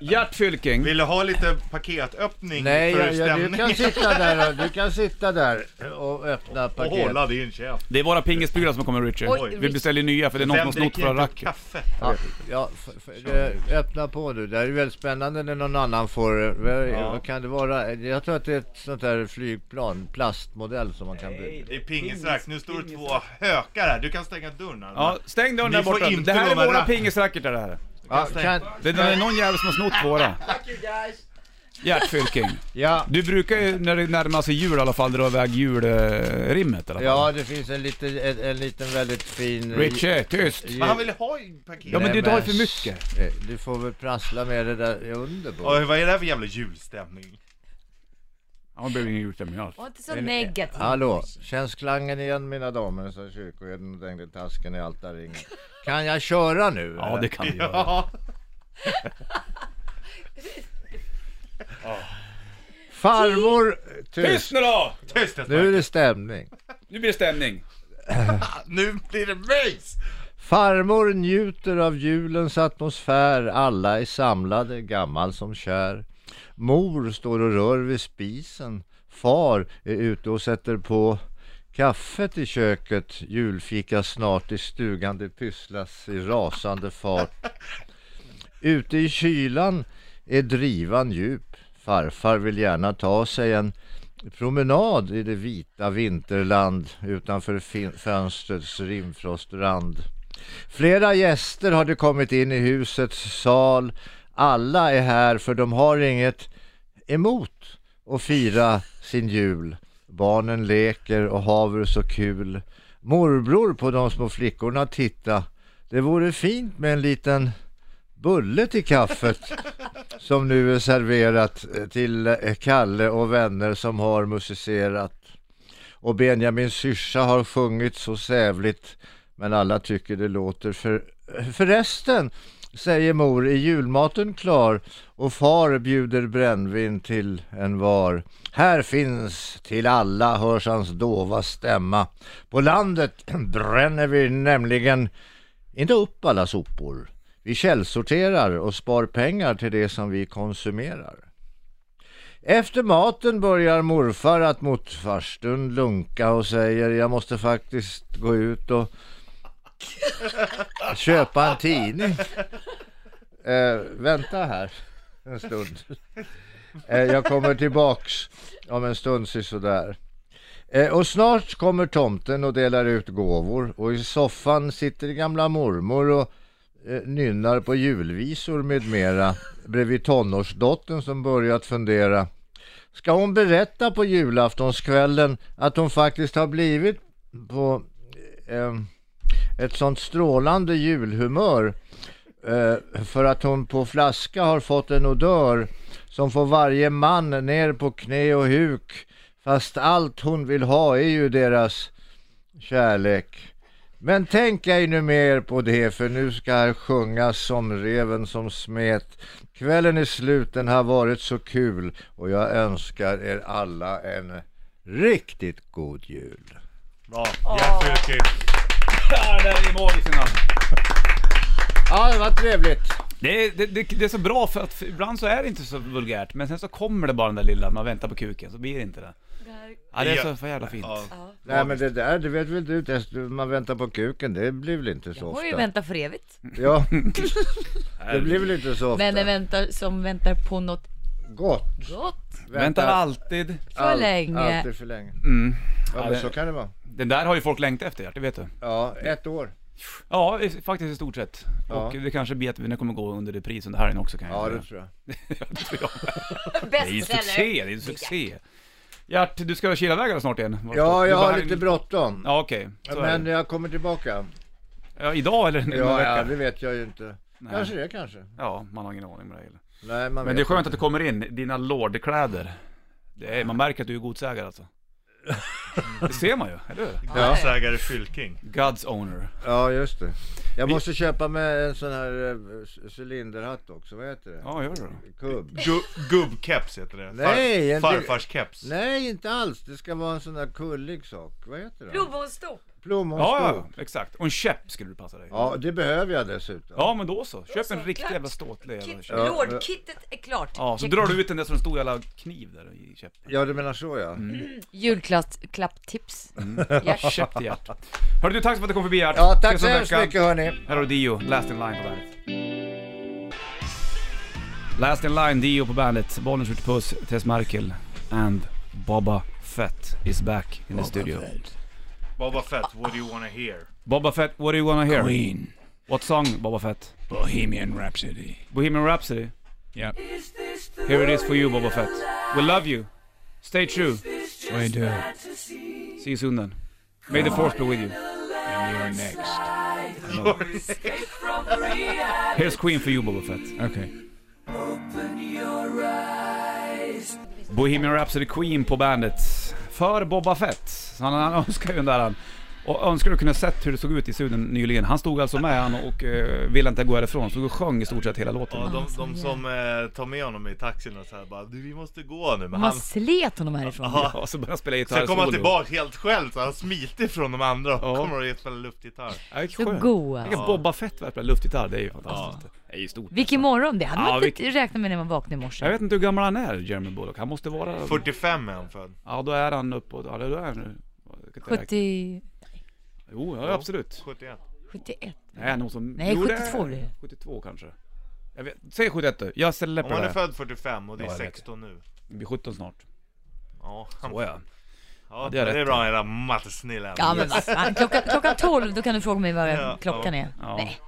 A: Gert Fylking.
J: vill du ha lite paketöppning
C: Nej,
J: för
C: ja, ja,
J: stämningen?
C: du kan sitta där och, du kan sitta där och öppna
J: Och
C: paket.
J: hålla din käft.
A: Det är våra pingisbyggare som kommer Richard.
B: Oj,
A: vi
B: Richard.
A: beställer nya för det är någon som har snott våra racket.
J: kaffe?
C: Ja, ja, f- f- eh, öppna på nu. Det här är väldigt spännande när någon annan får... eh, Vad
J: Ja.
C: vad kan det vara? Jag tror att det är ett sånt där flygplan, plastmodell som man kan bygga.
J: Det är pingisrack, nu står det två hökar här. Du kan stänga dörren Alma.
A: Ja, stäng dörren
J: Ni
A: där
J: får
A: borta.
J: inte
A: Det här är
J: låna
A: våra
J: racket.
A: pingisracketar det här.
C: Ja, kan,
A: Det det är någon jävel som har snott våra. Gert Fylking.
C: ja,
A: Du brukar ju när det närmar sig jul i alla fall dra iväg julrimmet eller?
C: ja, det finns en liten, en, en liten väldigt fin...
A: Richie, tyst!
C: ju-
J: Men han vill ha ju paket.
A: Ja men
C: Nej,
A: du har ju
C: men-
A: för mycket.
C: Eh, Du får väl prassla med det där under på.
J: Oj, vad är det här för jävla julstämning?
A: Ja, det blir ingen julstämning alls.
B: Var inte så negativ.
C: Hallå, känns klangen igen mina damer, sa kyrkoherden och tänkte tasken i altarringen. Kan jag köra nu?
A: Ja det kan vi göra.
J: Ja.
C: Farmor,
A: Tyst
C: tyst!
A: nu då!
J: Tyst ett
C: Nu är
J: tag.
C: det stämning.
A: Nu blir det stämning.
J: Nu blir det mys!
C: Farmor njuter av julens atmosfär, alla är samlade, gammal som kär. Mor står och rör vid spisen, far är ute och sätter på kaffet i köket, julfika snart i stugan, det pysslas i rasande fart. Ute i kylan är drivan djup, farfar vill gärna ta sig en promenad i det vita vinterland utanför fin- fönstrets rimfrostrand. Flera gäster har det kommit in i husets sal. Alla är här för de har inget emot att fira sin jul. Barnen leker och haver så kul. Morbror på de små flickorna titta. Det vore fint med en liten bulle till kaffet som nu är serverat eh, till eh, Kalle och vänner som har musicerat. Och Benjamins syrsa har sjungit så sävligt men alla tycker det låter för... Förresten, säger mor, är julmaten klar och far bjuder brännvin till en var. Här finns till alla, hörs hans dova stämma. På landet bränner vi nämligen inte upp alla sopor. Vi källsorterar och spar pengar till det som vi konsumerar. Efter maten börjar morfar att mot farstun lunka och säger jag måste faktiskt gå ut och köpa en tidning. Eh, vänta här en stund. Eh, jag kommer tillbaks om en stund sådär. Eh, och snart kommer tomten och delar ut gåvor och i soffan sitter gamla mormor och eh, nynnar på julvisor med mera bredvid tonårsdottern som börjat fundera. Ska hon berätta på julaftonskvällen att hon faktiskt har blivit på eh, ett sånt strålande julhumör eh, för att hon på flaska har fått en odör som får varje man ner på knä och huk fast allt hon vill ha är ju deras kärlek. Men tänk ej nu mer på det, för nu ska här sjungas som reven som smet. Kvällen är slut, den har varit så kul och jag önskar er alla en riktigt god jul.
F: Bra, jättekul.
A: Ja, det är magiskt alltså.
C: Ja, det var trevligt.
A: det, är- det, det, det är så bra för att för ibland så är det inte så vulgärt, men sen så kommer det bara den där lilla, man väntar på kuken, så blir det inte det. Ja, det är så för jävla fint.
F: Ja.
C: Nej men det där, det vet väl du Tess, man väntar på kuken, det blir väl inte så
B: Hon har
C: ofta?
B: ju väntat för evigt.
C: Ja, det blir väl inte så ofta.
B: Men den väntar, som väntar på något
C: Gott.
B: gott.
A: Väntar alltid.
B: För länge.
C: Alltid för länge.
A: Mm.
C: Ja, men så kan det vara.
A: Den där har ju folk längtat efter, det vet du.
C: Ja, ett år.
A: Ja, i- faktiskt i stort sett.
C: Ja.
A: Och det kanske blir att den kommer gå under repris under helgen också kan jag
C: Ja,
A: säga.
C: det tror jag.
A: Det är ju en
B: Bästsäljare.
A: succé, det är en succé. Gert, du ska kila iväg snart igen? Vad
C: Ja,
A: du
C: jag
A: var
C: har
A: här-
C: lite bråttom.
A: Ja, okej. Så är
C: Men
A: det.
C: jag kommer tillbaka.
A: Ja, idag eller nästa
C: Ja, ja,
A: vecka?
C: det vet jag ju inte.
A: Nej.
C: Kanske det, kanske.
A: Ja, man har ingen aning med det heller.
C: Nej, man
A: Men
C: vet
A: det är skönt
C: inte.
A: att du kommer in, dina lordkläder. Det är, man märker att du är godsägare alltså. Det ser man ju, eller hur?
C: Ja.
F: Godsägare Fylking.
A: God's owner.
C: Ja, just det. Jag
A: Vi-
C: måste köpa med en sån här eh, c- cylinderhatt också, vad heter det?
A: Ja, gör det då.
C: Kubb.
F: Gu- Gubbkeps heter det.
C: Nej,
F: Far-
C: en-
F: farfars keps.
C: Nej, inte alls. Det ska vara en sån där kullig sak. Vad heter det?
B: Blommonstopp.
A: Ja,
C: Plommonstol.
A: ja, exakt. Och en käpp skulle du passa dig.
C: Ja, det behöver jag dessutom.
A: Ja, men då så. Köp en
B: så,
A: riktig
B: klart.
A: jävla ståtlig jävla
B: Kit-
A: käpp.
B: Lordkittet är klart.
A: Ja, så drar du ut den där som en stor jävla kniv där i käppen.
C: Ja, du menar så ja.
B: Julklapptips.
A: Käpp till Gert. Hörru du, tack för att du kom förbi Gert.
C: Ja, tack
A: Ses
C: så
A: om en
C: hemskt
A: vecka.
C: mycket hörni.
F: Mm.
A: Här har du Dio, Last In Line på bandet. Last In Line, Dio på bandet. Bollen skjuter puss, Tess Merkel and Boba Fett is back in the studio.
F: Boba Fett, what do you wanna hear?
A: Boba Fett, what do you wanna hear?
D: Queen,
A: What song, Boba Fett?
D: Bohemian Rhapsody.
A: Bohemian Rhapsody?
D: Yep.
A: Here it is for you, Boba Fett. We love you. Stay true.
D: We do.
A: See you soon then. May the force be with you.
D: And you're next.
A: Here's Queen for you, Boba Fett.
D: Okay.
A: Bohemian Rhapsody Queen på bandet. För Boba Fett. Så Han, han önskar ju den där han. Och önskar du kunna sett hur det såg ut i studion nyligen. Han stod alltså med han och eh, ville inte gå härifrån. Stod och sjöng i stort sett hela låten.
F: Ja, de, de som eh, tar med honom i taxin och så här bara, du vi måste gå nu. Men
B: Man
F: han,
B: slet honom härifrån.
F: Ja.
A: Ja, och så började han spela gitarr
F: Sen kommer han
A: solo.
F: tillbaka helt själv så han smiter från de andra och
A: Ja.
F: kommer och spelar luftgitarr.
A: Ja, vilken
B: Så
A: skön.
B: god alltså.
A: Vilken Boba Fett verkar spela luftgitarr. Det är ju fantastiskt. Det är ju stort.
B: Vilken morgon det hade man
A: Ja,
B: inte räknat med när man vaknade i morse.
A: Jag vet inte hur gammal han är, Jeremy Bullock. Han måste vara...
F: 45 är han född.
A: Ja, då är han uppåt. Ja, då är han nu. Jag kan inte räkna.
B: 70...
A: Jo, ja, absolut.
F: 71.
B: 71?
A: Nej, han måste...
B: Nej, 72 det är.
A: 72 kanske. Jag vet. Säg 71 du. Jag släpper
F: Om han
A: det
F: är
A: här.
F: född 45 och det
A: Ja,
F: är
A: jag vet
F: 16 nu.
A: Det blir 17 snart.
F: Ja, han,
A: Åh, ja.
F: ja,
A: det är
F: det,
A: rätt.
F: är bra era mattesnillen.
B: Ja men vad fan. klockan, klockan 12 då kan du fråga mig vad
F: Ja,
B: klockan är.
A: Ja.
B: Nej.